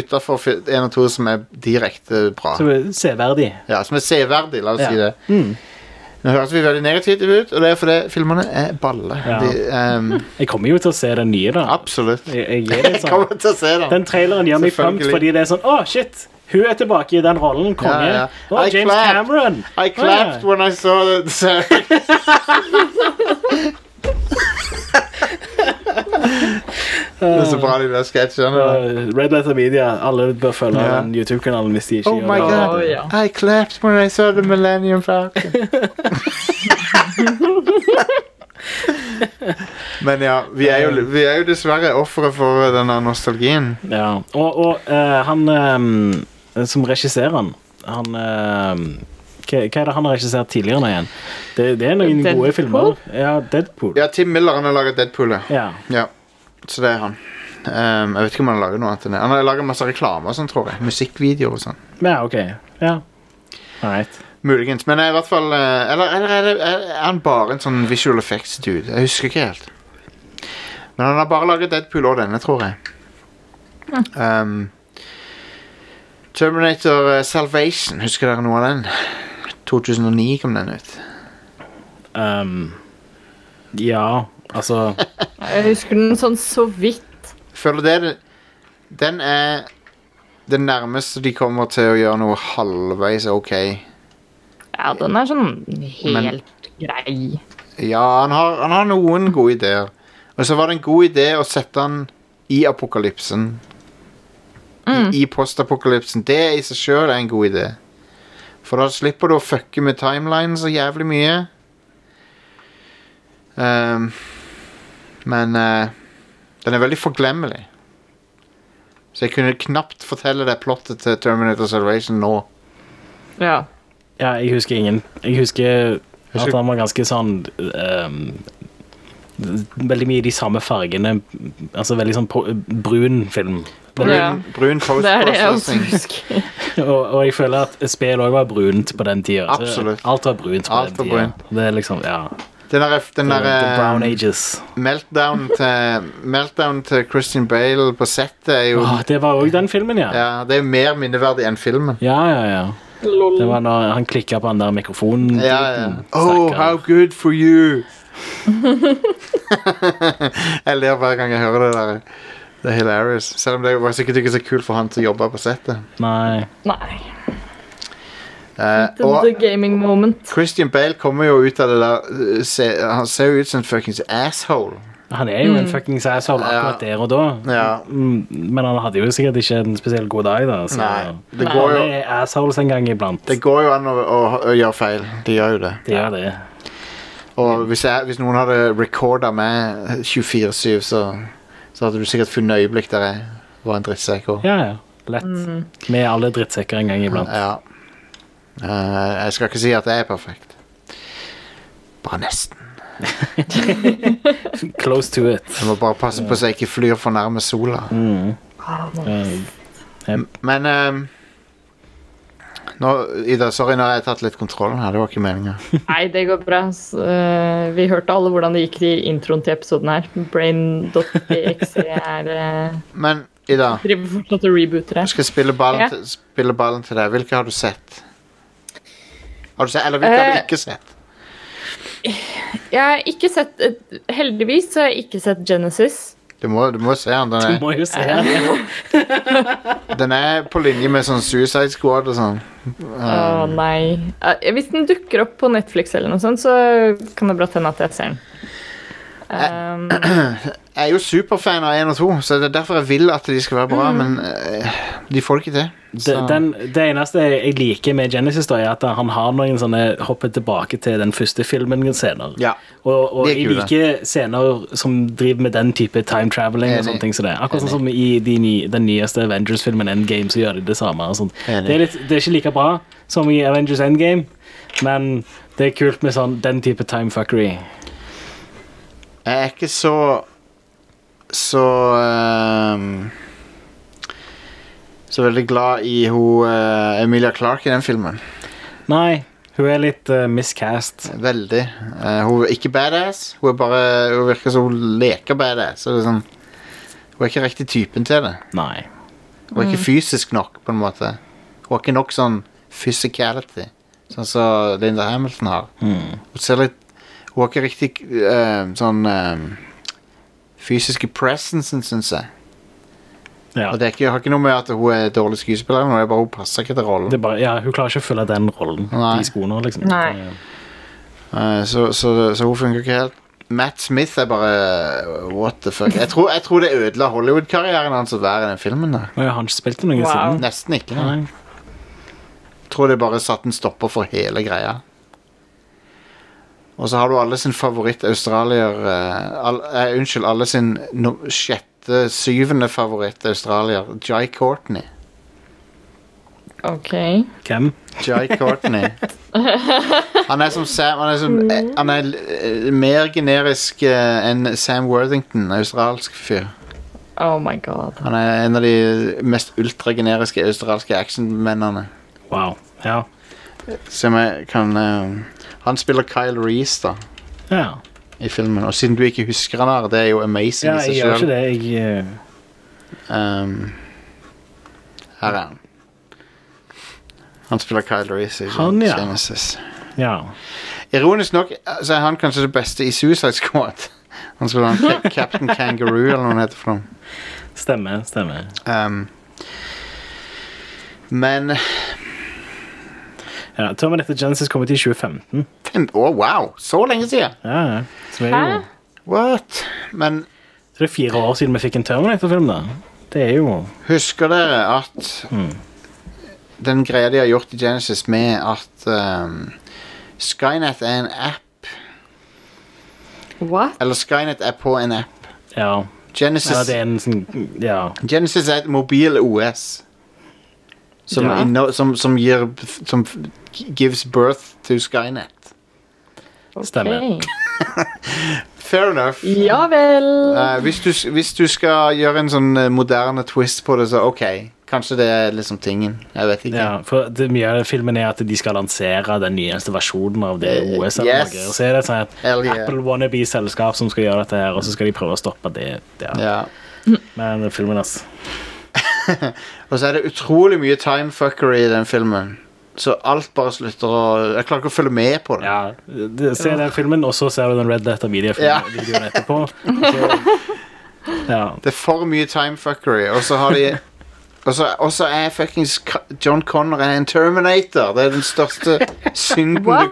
S2: utafor 1 og 2 som er direkte bra.
S3: så det er severdig.
S2: Ja, som er severdig, la oss
S3: Ja.
S2: si
S3: Mm.
S2: det. Nå høres vi veldig negativt ut, og det er fordi filmene er balle.
S3: Ja.
S2: De, ehm,
S3: Jeg kommer jo til å se den nye, da.
S2: absolutt.
S3: Jeg, jeg gir det
S2: Jeg
S3: sånn.
S2: kommer til å se den.
S3: Den traileren gjør meg pumped
S2: Selvfølgelig.
S3: fordi det er sånn Å, shit! Hun er tilbake i den rollen. Konge.
S2: Ja, ja.
S3: Å,
S2: I
S3: James
S2: clapped.
S3: Cameron.
S2: I
S3: Å,
S2: clapped
S3: ja.
S2: when I saw that. Sorry. det er så bra de der sketsjene.
S3: Uh, Red Letter Media. Alle bør følge
S2: Ja.
S3: den YouTube-kanalen hvis de ikke
S2: Oh
S3: gjør
S2: my
S3: det.
S2: god.
S1: Å, ja.
S2: I clapped when I saw the Millennium Falcon. Men ja, vi er jo, vi er jo dessverre ofre for denne nostalgien.
S3: Ja. Og, og eh, han eh, som regisserer den, han eh, hva, hva er det han har regissert tidligere nå igjen? Det, det er noen
S1: Deadpool?
S3: gode filmer. Ja, Deadpool.
S2: Ja, Tim Miller han har laget Deadpool. ja.
S3: Ja.
S2: Ja, så det er han. Ehm, jeg vet ikke om han har laget noe annet enn det. Han har laget masse reklame og sånn, tror jeg. Musikkvideoer og sånn.
S3: Ja, ok. Ja. Alright.
S2: Muligens. Men i hvert fall eh, Eller, eller er, det, er er han bare en sånn visual effects-dude? Jeg husker ikke helt. Men han har bare laget Deadpool og denne, tror jeg. Um, Terminator eh, Salvation, husker dere noe av den? 2009 kom den ut.
S3: Um, ja, altså
S1: Jeg husker den sånn så vidt.
S2: Føler det det- Den er det nærmeste de kommer til å gjøre noe halvveis ok.
S1: Ja, den er sånn helt grei.
S2: Ja, han har, han har noen gode ideer. Og så var det en god idé å sette han i apokalypsen.
S1: Mm.
S2: i, i postapokalypsen. Det i seg sjøl er en god idé. For da slipper du å fucke med timelinen så jævlig mye. Ehm, men eh, den er veldig forglemmelig. Så jeg kunne knapt fortelle deg plottet til Terminator Salvation nå.
S1: Ja.
S3: Ja, jeg husker ingen Jeg husker at
S2: Husker-
S3: han var ganske sånn ehm, Veldig mye i de samme fargene. Altså veldig sånn po- brun film.
S2: Brun,
S1: Ja.
S2: brun
S1: Det er det jeg også
S2: post-processing.
S1: husker.
S3: Og, og jeg føler at spill òg var brunt på den tida. Så
S2: Absolutt.
S3: Alt var brunt på
S2: Alt var
S3: den tida.
S2: brunt.
S3: Det er liksom, ja.
S2: Den der, den der
S3: The brown
S2: eh,
S3: ages.
S2: meltdown, til, meltdown til Christian Bale på settet er jo
S3: Åh, det var òg den filmen, ja.
S2: ja, Det er jo mer minneverdig enn filmen.
S3: Ja, ja, ja. Det var når han klikka på den der mikrofonen.
S2: Ja, ja. Oh,
S3: Stakkar.
S2: how good for you! jeg ler hver gang jeg hører det der. Det er hilarious. Selv om det var sikkert ikke så kult for han til å jobbe på settet.
S3: Nei.
S1: Nei.
S2: Eh,
S1: The,
S2: og
S1: the gaming moment.
S2: Christian Bale kommer jo ut av det der eh, se, Han ser jo ut som en fuckings asshole.
S3: Han er jo en fuckings asshole akkurat der og da.
S2: Ja.
S3: Mm, Men han hadde jo sikkert ikke en spesielt god dag, da. Så.
S2: Nei. Det
S1: Nei.
S2: går jo,
S3: Alle er assholes en gang iblant.
S2: det går jo an å, å, å gjøre feil. De gjør jo det.
S3: Det gjør det.
S2: Og hvis, jeg, hvis noen hadde recorda meg 24-7, så, så hadde du sikkert funnet øyeblikk der jeg var en drittsekk. og-
S3: Ja, ja. Lett. Vi er alle drittsekker en gang iblant.
S2: Ja. Eh, jeg skal ikke si at jeg er perfekt. Bare nesten.
S3: Close to it.
S2: Jeg må bare passe på så jeg ikke flyr for nærme sola.
S1: Ah,
S3: Eh,
S2: Men eh, nå, Ida, sorry når jeg har tatt litt kontrollen her. Det var ikke meninga.
S1: Nei, det går bra. ass. Eh, vi hørte alle hvordan det gikk i introen til episoden her. Brain.exe er eh,
S2: Men Ida,
S1: driver fortsatt og rebooter
S2: jeg
S1: her.
S2: skal spille ballen,
S1: Ja.
S2: til, spille ballen til deg. Hvilke har du sett? Har du sett eller hvilke har
S1: Eh,
S2: du ikke sett?
S1: Jeg har ikke sett eh, Heldigvis så har jeg ikke sett Genesis.
S2: Du må, du må se den. Den
S3: Du
S2: er,
S3: må jo se her.
S2: den er på linje med sånn Suicide Squad og sånn.
S1: Å nei. Eh, Hvis den dukker opp på Netflix eller noe sånt, så kan det brått hende at jeg ser den. Um,
S2: Jeg er jo superfan av 1 og 2, så det er derfor jeg vil at de skal være bra, men eh, de får det ikke til.
S3: Mm. Det- Den, det eneste jeg liker med Genesis, da, er at han har noen sånne hopper tilbake til den første filmen scener.
S2: Ja.
S3: Og, og
S2: Det er
S3: jeg
S2: kule.
S3: liker scener som driver med den type time traveling. og
S2: Enig.
S3: sånne ting som det. Akkurat sånn som i de ny, den nyeste Avengers-filmen Endgame, så gjør de det samme. og sånt.
S2: Enig.
S3: Det, er litt, det er ikke like bra som i Avengers Endgame, men det er kult med sånn, den type timefuckery.
S2: Jeg er ikke så Så ehm, Så veldig glad i hun eh, Emilia Clarke i den filmen.
S3: Nei, hun er litt eh, miscast.
S2: Veldig. Eh, hun er ikke badass. Hun, er bare, hun virker som hun leker badass. Så det er sånn, hun er ikke riktig typen til det.
S3: Nei.
S2: Hun er ikke fysisk nok, på en måte. Hun har ikke nok sånn physicality, sånn som Linda Hamilton har. Hun ser litt Hun har ikke riktig eh, sånn eh, fysiske presencen, syns jeg.
S3: Ja.
S2: Og det er ikke, har ikke noe med at hun er dårlig skuespiller, men det er bare hun passer ikke til rollen.
S3: Det er bare, ja, hun klarer ikke å følge den rollen.
S2: Nei.
S3: De skoene, liksom.
S1: Nei.
S3: Det er-
S2: Eh, så, så, så hun funker ikke helt. Matt Smith er bare What the fuck? Jeg tror, jeg tror det ødela Hollywood-karrieren hans å være i den filmen. der.
S3: Nå har han ikke spilt i noen
S1: Wow.
S3: siden.
S2: Nesten ikke. da.
S3: Nei.
S2: tror det bare satt en stopper for hele greia. Og så har du alle sin favoritt-australier eh, all, eh, Unnskyld, alle sin no, sjette, syvende favoritt-australier, Jai Courtney.
S1: ok.
S3: Hvem?
S2: Jai Courtney. Han er som Sam Han er, som, eh, han er eh, mer generisk eh, enn Sam Worthington, australsk fyr.
S1: Oh my god.
S2: Han er en av de mest ultrageneriske australske actionmennene.
S3: Wow. Ja.
S2: Som jeg kan eh, Han spiller Kyle Reece, da.
S3: Ja,
S2: i filmen. Og siden du ikke husker han her, det er jo amazing
S3: ja
S2: i seg
S3: jeg gjør ikke
S2: selv.
S3: det. Jeg, eh,
S2: Um, her er han. Han spiller Kyle Reese i
S3: Han, ja.
S2: Genesis.
S3: ja.
S2: Ironisk nok så er han kanskje det beste i Suicide Squad. Han spiller han Cap- Captain Kangaroo, eller noe han heter for noe.
S3: Stemmer, stemmer.
S2: Um, men
S3: Ja, Terminator Genesis kom ut i 2015.
S2: fem, Å, wow! Så lenge siden!
S3: Ja, ja. Så det er
S1: Hæ?
S3: jo
S2: What? Men
S3: så det er fire år siden vi fikk en Terminator-film, da. Det er jo
S2: Husker dere at den greia de har gjort i Genesis med at ehm, Skynet er en app?
S1: What?
S2: Eller Skynet er på en app.
S3: Ja.
S2: Genesis,
S3: ja det er en sånn Ja.
S2: Genesis er et mobil OS. Som,
S3: Ja.
S2: inno, som, som gir Som gives birth to Skynet.
S3: Stemmer.
S1: Ok.
S2: Fair enough.
S1: Ja vel.
S2: Eh, hvis, du, hvis du skal gjøre en sånn eh, moderne twist på det, så OK. Kanskje det er liksom tingen. Jeg vet ikke.
S3: Ja, for det, Mye av det filmen er at de skal lansere den nyeste versjonen av det
S2: Eh,
S3: OS. eller
S2: yes.
S3: noe. Og så er det et sånt
S2: Hell yeah.
S3: Apple wannabe-selskap som skal gjøre dette, her, og så skal de prøve å stoppe det. Ja.
S2: Ja.
S3: Men filmen, altså.
S2: Og så er det utrolig mye timefuckery i den filmen. Så alt bare slutter å Jeg klarer ikke å følge med på det.
S3: Ja, det- se den filmen, og så ser du den Red Letter-videoen
S2: Ja.
S3: videoen etterpå. Så, ja.
S2: Det er for mye timefuckery, og så har de Og så og så er fuckings Ka- John Connor er en terminator. Det er den største synden
S1: What?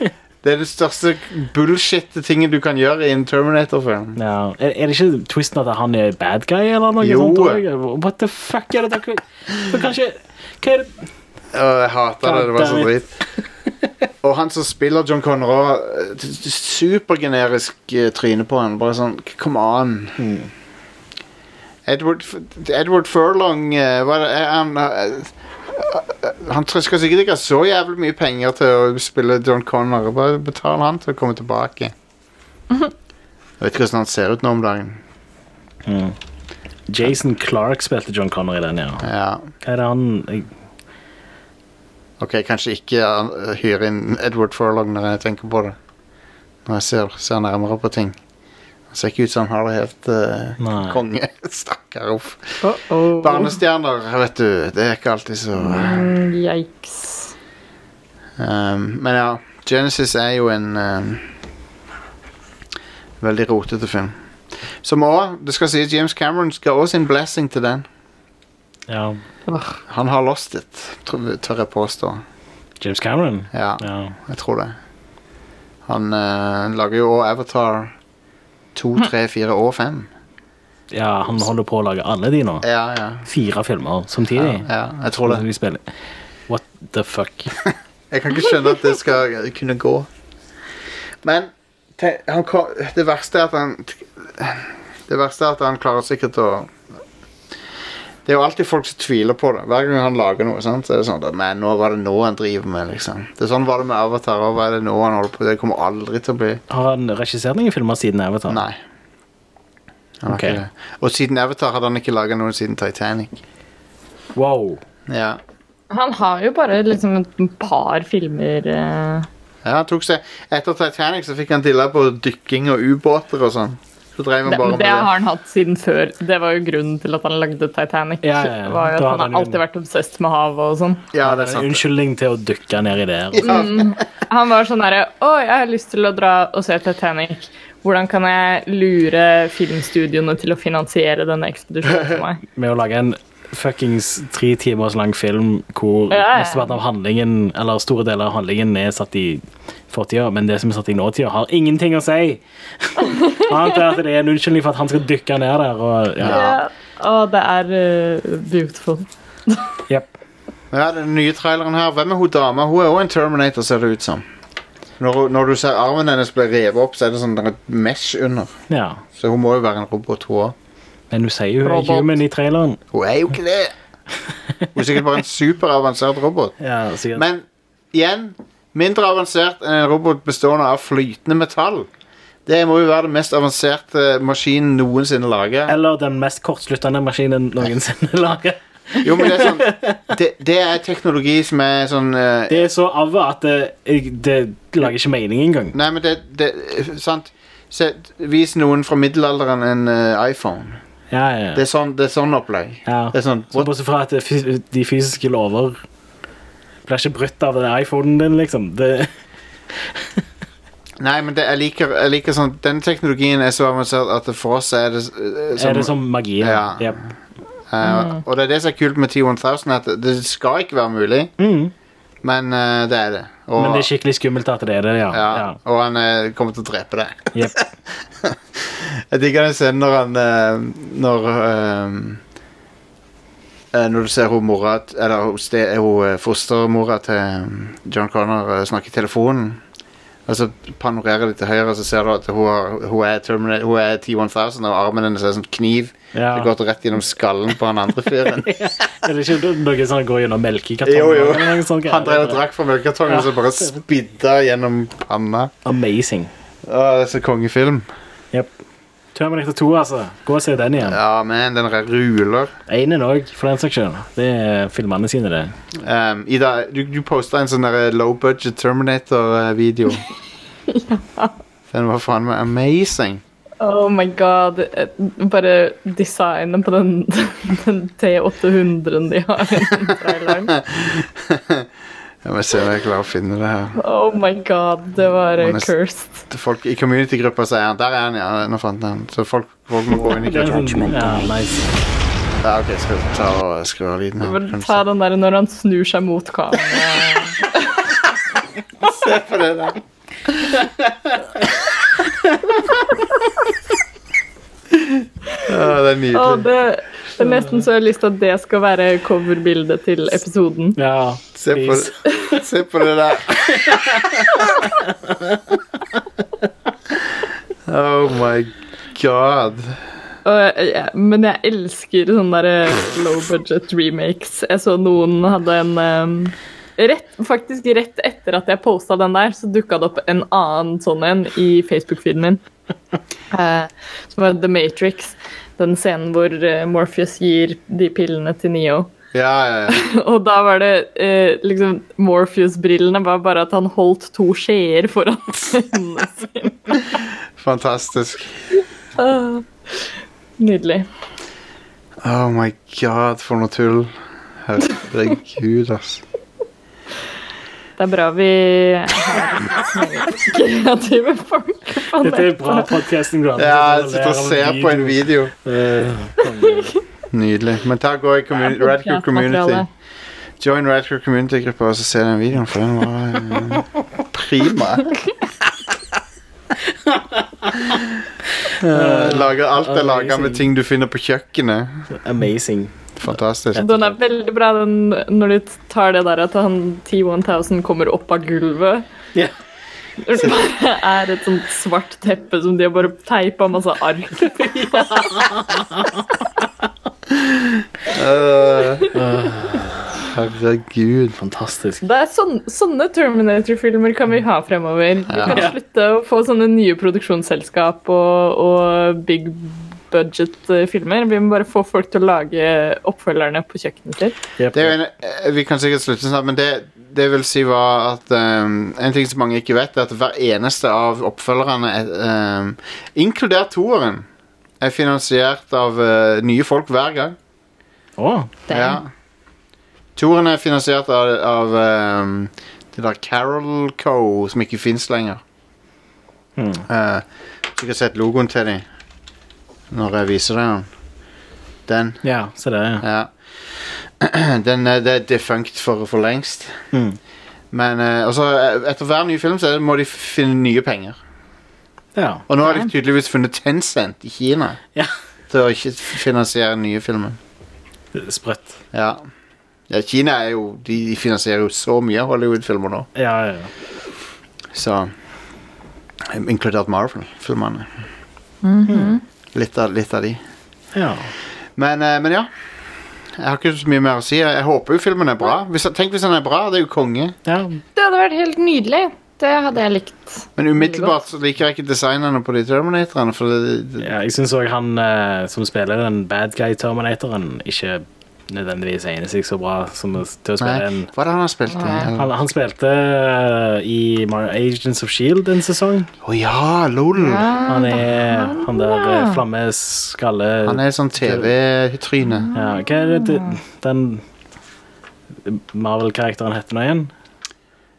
S2: du Det er den største bullshit tingen du kan gjøre i en Terminator-film.
S3: Ja. Er, er det ikke twisten at han er bad guy, eller noe
S2: Jo.
S3: sånt? også? What the fuck er det dere For kanskje Hva er det
S2: Å, jeg hater det. Det var så
S3: Goddammit.
S2: dritt. Og han som spiller John Connor også, eh, t- Supergenerisk eh, tryne på han. Bare sånn k- Come on. Edward, F- Edward Furlong eh, hva er det- er han, eh, eh, han tr- skal sikkert ikke ha så jævlig mye penger til å spille John Connor. Bare betal han til å komme tilbake. Jeg vet ikke hvordan han ser ut nå om dagen.
S3: Jason Clark spilte John Connor i den, ja.
S2: Ja.
S3: Hva er det han jeg,
S2: Ok, kanskje ikke eh, hyre inn Edward Furlong når jeg tenker på det. Når jeg ser, ser nærmere på ting. Han ser ikke ut som han har det helt eh,
S3: Nei.
S2: konge. Stakkar. uff.
S1: Uh -oh.
S2: Barnestjerner, vet du. Det er ikke alltid så
S1: Mm, Yikes.
S2: um, Men ja, Genesis er jo en um, veldig rotete film. Som òg, det skal sies, James Cameron skal også sin blessing til den.
S3: Ja.
S2: Han har lost it, tror- tør jeg påstå.
S3: James Cameron?
S2: Ja.
S3: Ja.
S2: Jeg tror det. Han eh, lager jo også Avatar 2, 3, 4 og 5.
S3: ja, han holder på å lage alle de nå.
S2: Ja, ja.
S3: Fire filmer
S2: ja,
S3: samtidig.
S2: ja jeg tror
S3: Som
S2: det.
S3: de spiller. What the fuck?
S2: Jeg kan ikke skjønne at det skal kunne gå. Men te, han, ko- det verste er at han Det verste er at han klarer sikkert å Det er jo alltid folk som tviler på det. Hver gang han lager noe, sant? så er det sånn at, Men nå var det nå han driver med, liksom. Det er Sånn var det med Avatar. Og hva er det nå han holder på Det kommer aldri til å bli
S3: Har han regissert noen filmer siden Avatar?
S2: Nei. Han har
S3: Ok.
S2: ikke det. Og siden Avatar hadde han ikke laga noen siden Titanic.
S3: Wow.
S2: Ja.
S1: Han har jo bare liksom et par filmer eh,
S2: Ja, han tok seg Etter Titanic så fikk han dilla på dykking og ubåter og sånn. Så drev han
S1: det,
S2: bare med
S1: det har
S2: det.
S1: han hatt siden før. Det var jo grunnen til at han lagde Titanic.
S3: Ja, ja, ja.
S1: Var jo
S3: Da
S1: at
S3: hadde
S1: han
S3: han
S1: har
S3: jo-
S1: alltid vært obsesst med havet og sånn.
S2: Ja, det er
S3: En
S2: sant.
S3: unnskyldning til å dykke ned i det. her,
S2: Ja.
S1: Han var sånn derre Å, jeg har lyst til å dra og se Titanic. Hvordan kan jeg lure filmstudioene til å finansiere denne ekspedisjonen for meg?
S3: Med å lage en fuckings tre timers lang film hvor
S1: Ja, ja.
S3: mesteparten av handlingen, eller store deler av handlingen, er satt i fortida, men det som er satt i nåtida, har ingenting å si. Annet er at det er en unnskyldning for at han skal dykke ned der. Og, ja.
S2: Ja.
S1: Ja. Å, det er eh, beautiful.
S3: Jep.
S2: ja, den nye traileren her. Hvem er hun dama? Hun er òg en Terminator, ser det ut som. Når, hun- når du ser armen hennes bli revet opp, så er det sånn der et mesh under.
S3: ja.
S2: Så hun må jo være en robot, hun òg.
S3: Men du sier jo hun er
S1: Robot.
S3: human i traileren.
S2: Hun er jo ikke det! Hun er sikkert bare en superavansert robot.
S3: Ja, sikkert.
S2: Men igjen, mindre avansert enn en robot bestående av flytende metall. Det må jo være den mest avanserte maskinen noensinne laget.
S3: Eller den mest kortsluttende maskinen noensinne laget.
S2: Jo, men det er sånn Det, det er teknologi som er sånn eh,
S3: Det er så avva at det, jeg- det lager ikke mening engang.
S2: Nei, men det, det Sant? Se, vis noen fra middelalderen en eh, iPhone.
S3: Ja, ja.
S2: Det er sånn, det er sånn opplegg.
S3: ja.
S2: Det er sånn
S3: Så bortsett fra at det fys- de fysiske lover blir ikke brutt av den iPhonen din, liksom. Det,
S2: Nei, men det, jeg, liker, jeg liker sånn Den teknologien er så avansert at det for oss er det eh,
S3: er det som magi.
S2: Ja.
S3: Jep.
S2: Eh,
S3: Mm.
S2: Og det er det som er kult med T1000, at det skal ikke være mulig, men eh, det er det. Og,
S3: Mm. Men det er skikkelig skummelt at det er det, ja.
S2: ja,
S3: ja.
S2: og han eh, kommer til å drepe deg.
S3: Jep.
S2: Jeg digger den scenen når han eh, Når eh, eh, når du ser hun mora t- Eller hun ste- eh, hun eh, fostermora til um, John Connor eh, snakke i telefonen Og så panorerer de til høyre, og så ser du at hun, har, hun er, Termina- hun er T-1000, og armen hennes er som kniv.
S3: Ja.
S2: Det går rett gjennom skallen på han andre fyren.
S3: Er det ikke noe sånn går gjennom melkekartongen?
S2: Jo, jo.
S3: eller noe sånt?
S2: Han drev og drakk fra melkekartongen, og så bare spidda gjennom panna.
S3: Amazing.
S2: Å, det er så kongefilm.
S3: Yep. Terminator 2, altså. Gå og se den igjen.
S2: Ja, men den der ruler.
S3: Einen òg, for den saks skyld. Det er filmene sine, det.
S2: Um, Ida, du, du posta en sånn der low budget Terminator-video. Den var faen meg amazing.
S1: Oh my god. eh, Bare designet på den, den T800-en de har i den traileren.
S2: Jeg må se om jeg klarer å finne det her.
S1: Oh my god, det var eh,
S2: Man er s-
S1: cursed.
S2: Folk I community-gruppa sier han Der er han, ja. Nå fant jeg han. Så folk, folk må gå inn i
S3: Det er
S2: gruppa.
S3: sånn- Ja, nice.
S2: Ja, ok, skal vi ta og skru av lyden her.
S1: Bare
S2: Kan du
S1: Ta
S2: se-
S1: den der når han snur seg mot kameraet.
S2: Se på det der. Å, det er
S1: Å,
S2: nydelig.
S1: det, det er nesten så jeg har lyst til at det skal være coverbildet til episoden.
S3: Ja,
S2: Se på,
S3: please.
S2: det- se på det der. oh my god.
S1: Og, eh, ja, men jeg elsker sånne der eh, low budget remakes. Jeg så noen hadde en em, rett, Faktisk rett etter at jeg posta den der, så dukka det opp en annen sånn en i Facebook-feeden min. Eh, som var The Matrix. Den scenen hvor eh, Morpheus gir de pillene til Neo.
S2: Ja, ja, ja.
S1: Og da var det eh, liksom Morpheus-brillene var bare at han holdt to skjeer foran øynene sine.
S2: Fantastisk.
S1: Ah, Nydelig.
S2: Oh my god, for noe tull. Herregud, ass.
S1: Det er bra vi har kreative folk på
S3: Dette er
S1: nett.
S3: bra podcasting, Grant.
S2: Ja, jeg sitter og ser på en video. Nydelig. Men ta og gå i commu- Radcrew Community. Join Radcrew Community-gruppa og så se den videoen, for den var eh, prima. Eh, lager, alt er laga med ting du finner på kjøkkenet.
S3: Eh, Amazing.
S2: Fantastisk.
S1: Den er veldig bra den, når du tar det der at han T1000 kommer opp av gulvet.
S3: Ja.
S1: Når Det bare er et sånt svart teppe som de har bare teipa masse ark på.
S2: Eh, herregud.
S3: Fantastisk.
S1: Det er sånn, sånne Terminator-filmer kan vi ha fremover. Vi kan
S2: Ja.
S1: slutte å få sånne nye produksjonsselskap og, og big budget-filmer. Vi må bare få folk til å lage oppfølgerne på kjøkkenet sitt.
S3: Yep.
S2: Det er jo en, eh, vi kan sikkert slutte snart, men det, det vil si var at ehm, En ting som mange ikke vet, er at hver eneste av oppfølgerne, er, ehm, inkludert toeren, er finansiert av eh, nye folk hver gang.
S3: Å,
S2: Ja. Toeren er finansiert av, av ehm, det der Carol Co., som ikke fins lenger.
S3: Hmm.
S2: Eh, så jeg har sett logoen til dem når jeg viser deg den. Den.
S3: ja, se der, ja.
S2: Ja. Den, eh, det er defunct for, for lengst.
S3: Mm.
S2: Men eh, altså, eh, etter hver ny film så er det- må de finne nye penger.
S3: ja.
S2: Og nå har de tydeligvis funnet Tencent i Kina
S3: Ja.
S2: til å ikke finansiere nye filmer.
S3: Det er Sprøtt.
S2: Ja. ja Kina er jo De de finansierer jo så mye Hollywood-filmer nå,
S3: Ja, ja, ja.
S2: så eh, Inkludert Marvel-filmene. litt, av- litt av de.
S3: ja.
S2: Men, eh, men ja. Jeg har ikke så mye mer å si. Jeg håper jo filmen er bra. Hvis, tenk hvis den er bra. Det er jo konge.
S3: ja.
S1: Det hadde vært helt nydelig. Det hadde jeg likt.
S2: Men umiddelbart så liker jeg ikke designerne på de Terminatorene, for det, det,
S3: Ja, jeg syns òg han eh, som spiller den bad guy-terminatoren, ikke nødvendigvis egner seg så bra som å- til å spille
S2: Nei,
S3: en
S2: hva er det han har spilt i? Eller- Å
S3: han, han spilte eh, i Mar Agents of Shield en sesong.
S2: ja, lol!
S3: Han er han der eh, flammeskalle...
S2: Han er sånn TV-tryne.
S3: Ja, hva er det det- den Marvel-karakteren heter nå igjen?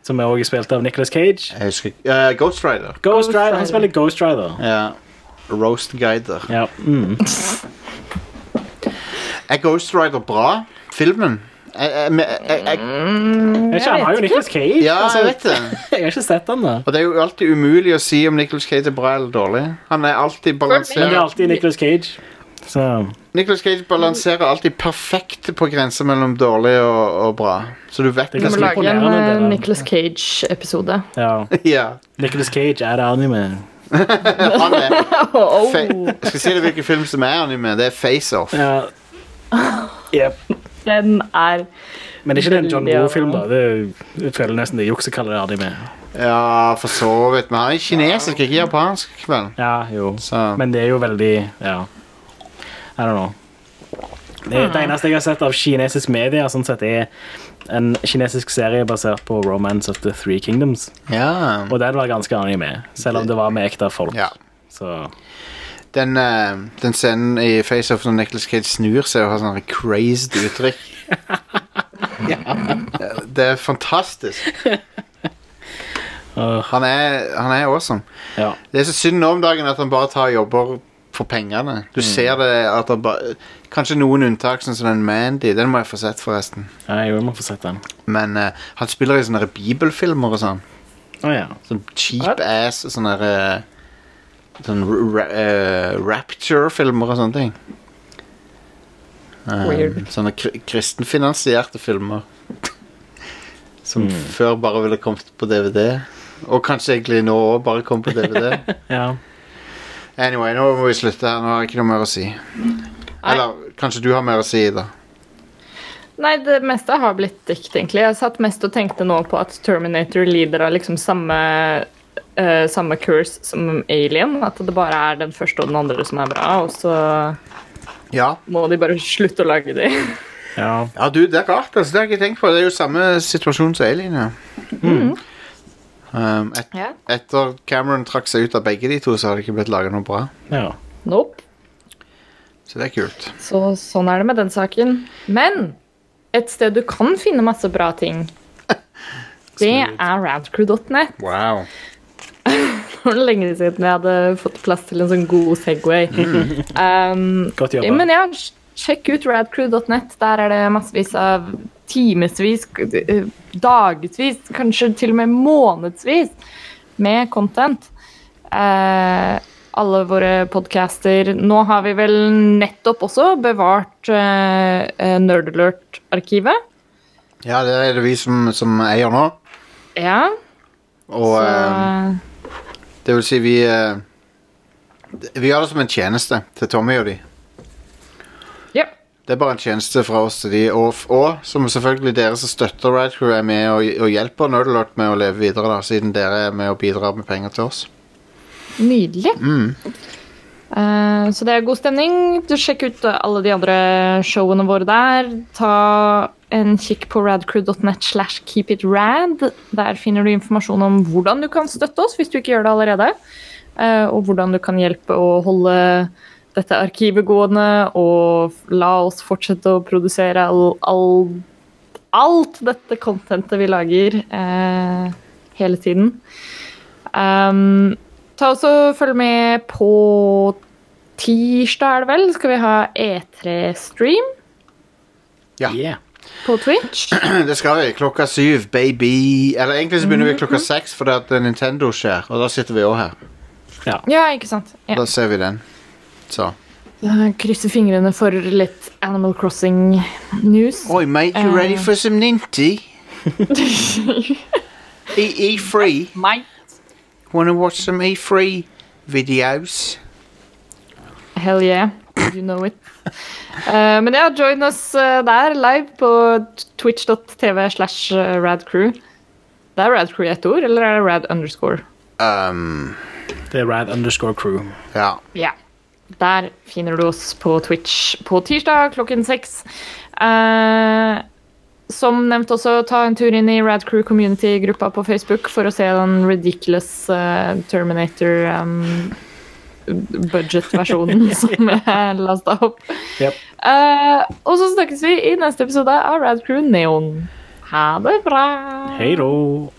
S3: Som er også spilt av Nicolas Cage.
S2: Jeg husker ikke eh, Ghost Rider.
S3: Ghost
S1: Ghost
S3: Rider. Han
S1: Rider.
S3: spiller Ghost Rider.
S2: Ja. Roast Guider.
S3: Ja. Mm.
S2: Er Ghost Rider bra? Filmen? Jeg, jeg, jeg, jeg, jeg,
S3: Jeg ikke, han har jo Nicolas Cage.
S2: ja,
S3: altså.
S2: jeg vet det.
S3: jeg har ikke sett han da.
S2: Og det er jo alltid umulig å si om Nicholas Cage er bra eller dårlig. Han er alltid
S3: Men det er
S2: balansert.
S3: alltid Nicolas Cage. Så
S2: Nicholas Cage balanserer alltid perfekt på grensa mellom dårlig og, og bra. Så du vet
S3: Det er
S1: Vi må
S3: ganske
S2: nesten
S1: lage en
S3: imponerende, det
S1: eh,
S3: der.
S1: Nicolas Cage-episode.
S3: ja.
S2: Ja,
S3: Nicholas Cage er anime.
S2: han er
S1: Oh,
S2: fa Jeg skal si deg hvilken film som er anime. Det er Face Off.
S3: Ja. Yep.
S1: den er
S3: Men ikke den John
S1: Veldig
S3: Woo-filmen, da. Det, er jo- jeg føler nesten det er juks å kalle det anime.
S2: Ja, for så vidt. Men han er kinesisk, ikke japansk. vel
S3: Ja, jo.
S2: Så-
S3: Men det er jo veldig Ja. I don't know. Det, det eneste jeg har sett av kinesisk media, sånn sett, er en kinesisk serie basert på Romance of the Three Kingdoms.
S2: Ja.
S3: Og den var ganske anime, selv om det var med ekte folk.
S2: Ja.
S3: Så
S2: Den, eh, den scenen i Face Off når Nicholas Cage snur seg og har sånn crazed uttrykk. Det er fantastisk. Han er, han er awesome.
S3: ja.
S2: Det er så synd nå om dagen at han bare tar jobber for pengene. Du ser det at han bare Kanskje noen unntak, sånn som den Mandy. Den må jeg få sett, forresten.
S3: Nei, jo, jeg må få sett den.
S2: Men eh, han spiller i sånne her bibelfilmer og sånn.
S3: Å ja.
S2: Sånn cheap ass og sånne her, eh, Sånn ra eh, Rapture-filmer og sånne ting. Um,
S1: Weird.
S2: Sånne kri kristenfinansierte filmer. Som før bare ville kommet på DVD. Og kanskje egentlig nå òg bare kom på DVD.
S3: ja.
S2: Anyway, nå må vi slutte her. Nå har jeg ikke noe mer å si. Eller kanskje du har mer å si, da.
S1: Nei, det meste har blitt dikt, egentlig. Jeg satt mest og tenkte nå på at Terminator lider av liksom samme eh, samme curse som Alien. At det bare er den første og den andre som er bra, og så
S2: Ja,
S1: må de bare slutte å lage de.
S3: ja.
S2: ja du, det er rart. Altså, det har jeg ikke tenkt på. Det er jo samme situasjon som Alien. Ja. Um, et,
S1: Mm. Ja.
S2: etter Cameron trakk seg ut av begge de to, så har det ikke blitt laga noe bra.
S3: ja.
S1: Nope.
S2: Så det er kult.
S1: Så sånn er det med den saken. Men et sted du kan finne masse bra ting, det er radcrew.net.
S2: Wow.
S1: Det var lenge siden jeg hadde fått plass til en sånn god Segway. Um,
S3: Godt jobba.
S1: men ja, sj- sjekk ut radcrew.net. Der er det massevis av timevis, eh, dagevis, kanskje til og med månedsvis med content. Eh, alle våre podcaster. Nå har vi vel nettopp også bevart eh, eh, Nerd Alert-arkivet.
S2: Ja, det er det vi som, som eier nå.
S1: Ja,
S2: Og
S1: så
S2: eh, det vil si vi eh, Vi gjør det som en tjeneste til Tommy og de.
S1: ja.
S2: Det er bare en tjeneste fra oss til de, og, og som selvfølgelig dere som støtter Radcrew er med og, og hjelper Nerdlot med å leve videre, da, siden dere er med og bidrar med penger til oss.
S1: Nydelig. Eh, så det er god stemning. Du Sjekk ut eh, alle de andre showene våre der. Ta en kikk på radcrew.net slash keepitrad. Der finner du informasjon om hvordan du kan støtte oss hvis du ikke gjør det allerede. eh, og hvordan du kan hjelpe å holde dette arkivet gående, og la oss fortsette å produsere all, all, alt dette contentet vi lager eh, hele tiden. Um, Ta også følg med på tirsdag, er det vel, skal vi ha E E3-stream
S3: Yeah.
S1: på Twitch.
S2: Det skal vi. Klokka syv, baby. Eller egentlig så begynner vi klokka seks fordi at eh, Nintendo skjer, og da sitter vi òg her.
S1: Ja, ikke sant? Ja.
S2: Da ser vi den. Så.
S1: Jeg Krysser fingrene for litt Animal Crossing-news.
S2: Oi, mate, you ready for some Ninty? E3?
S1: Meg.
S2: Wanna watch some E3 videos?
S1: Hell yeah. You know it. Eh, men ja, join oss eh, der live på t- twitch.tv slash eh, radcrew. Det er radcrew i ett ord, eller er det rad underscore?
S2: Um,
S3: Det er Rad underscore crew.
S2: ja.
S1: Ja. Der finner du oss på Twitch på tirsdag klokken seks. Eh, som nevnt også, ta en tur inn i Rad Crew Community-gruppa på Facebook for å se den ridiculous eh, Terminator um, budget-versjonen som jeg lasta opp.
S3: Yep.
S1: Eh, og så snakkes vi i neste episode av Rad Crew Neon. Ha det bra!
S3: Hei då.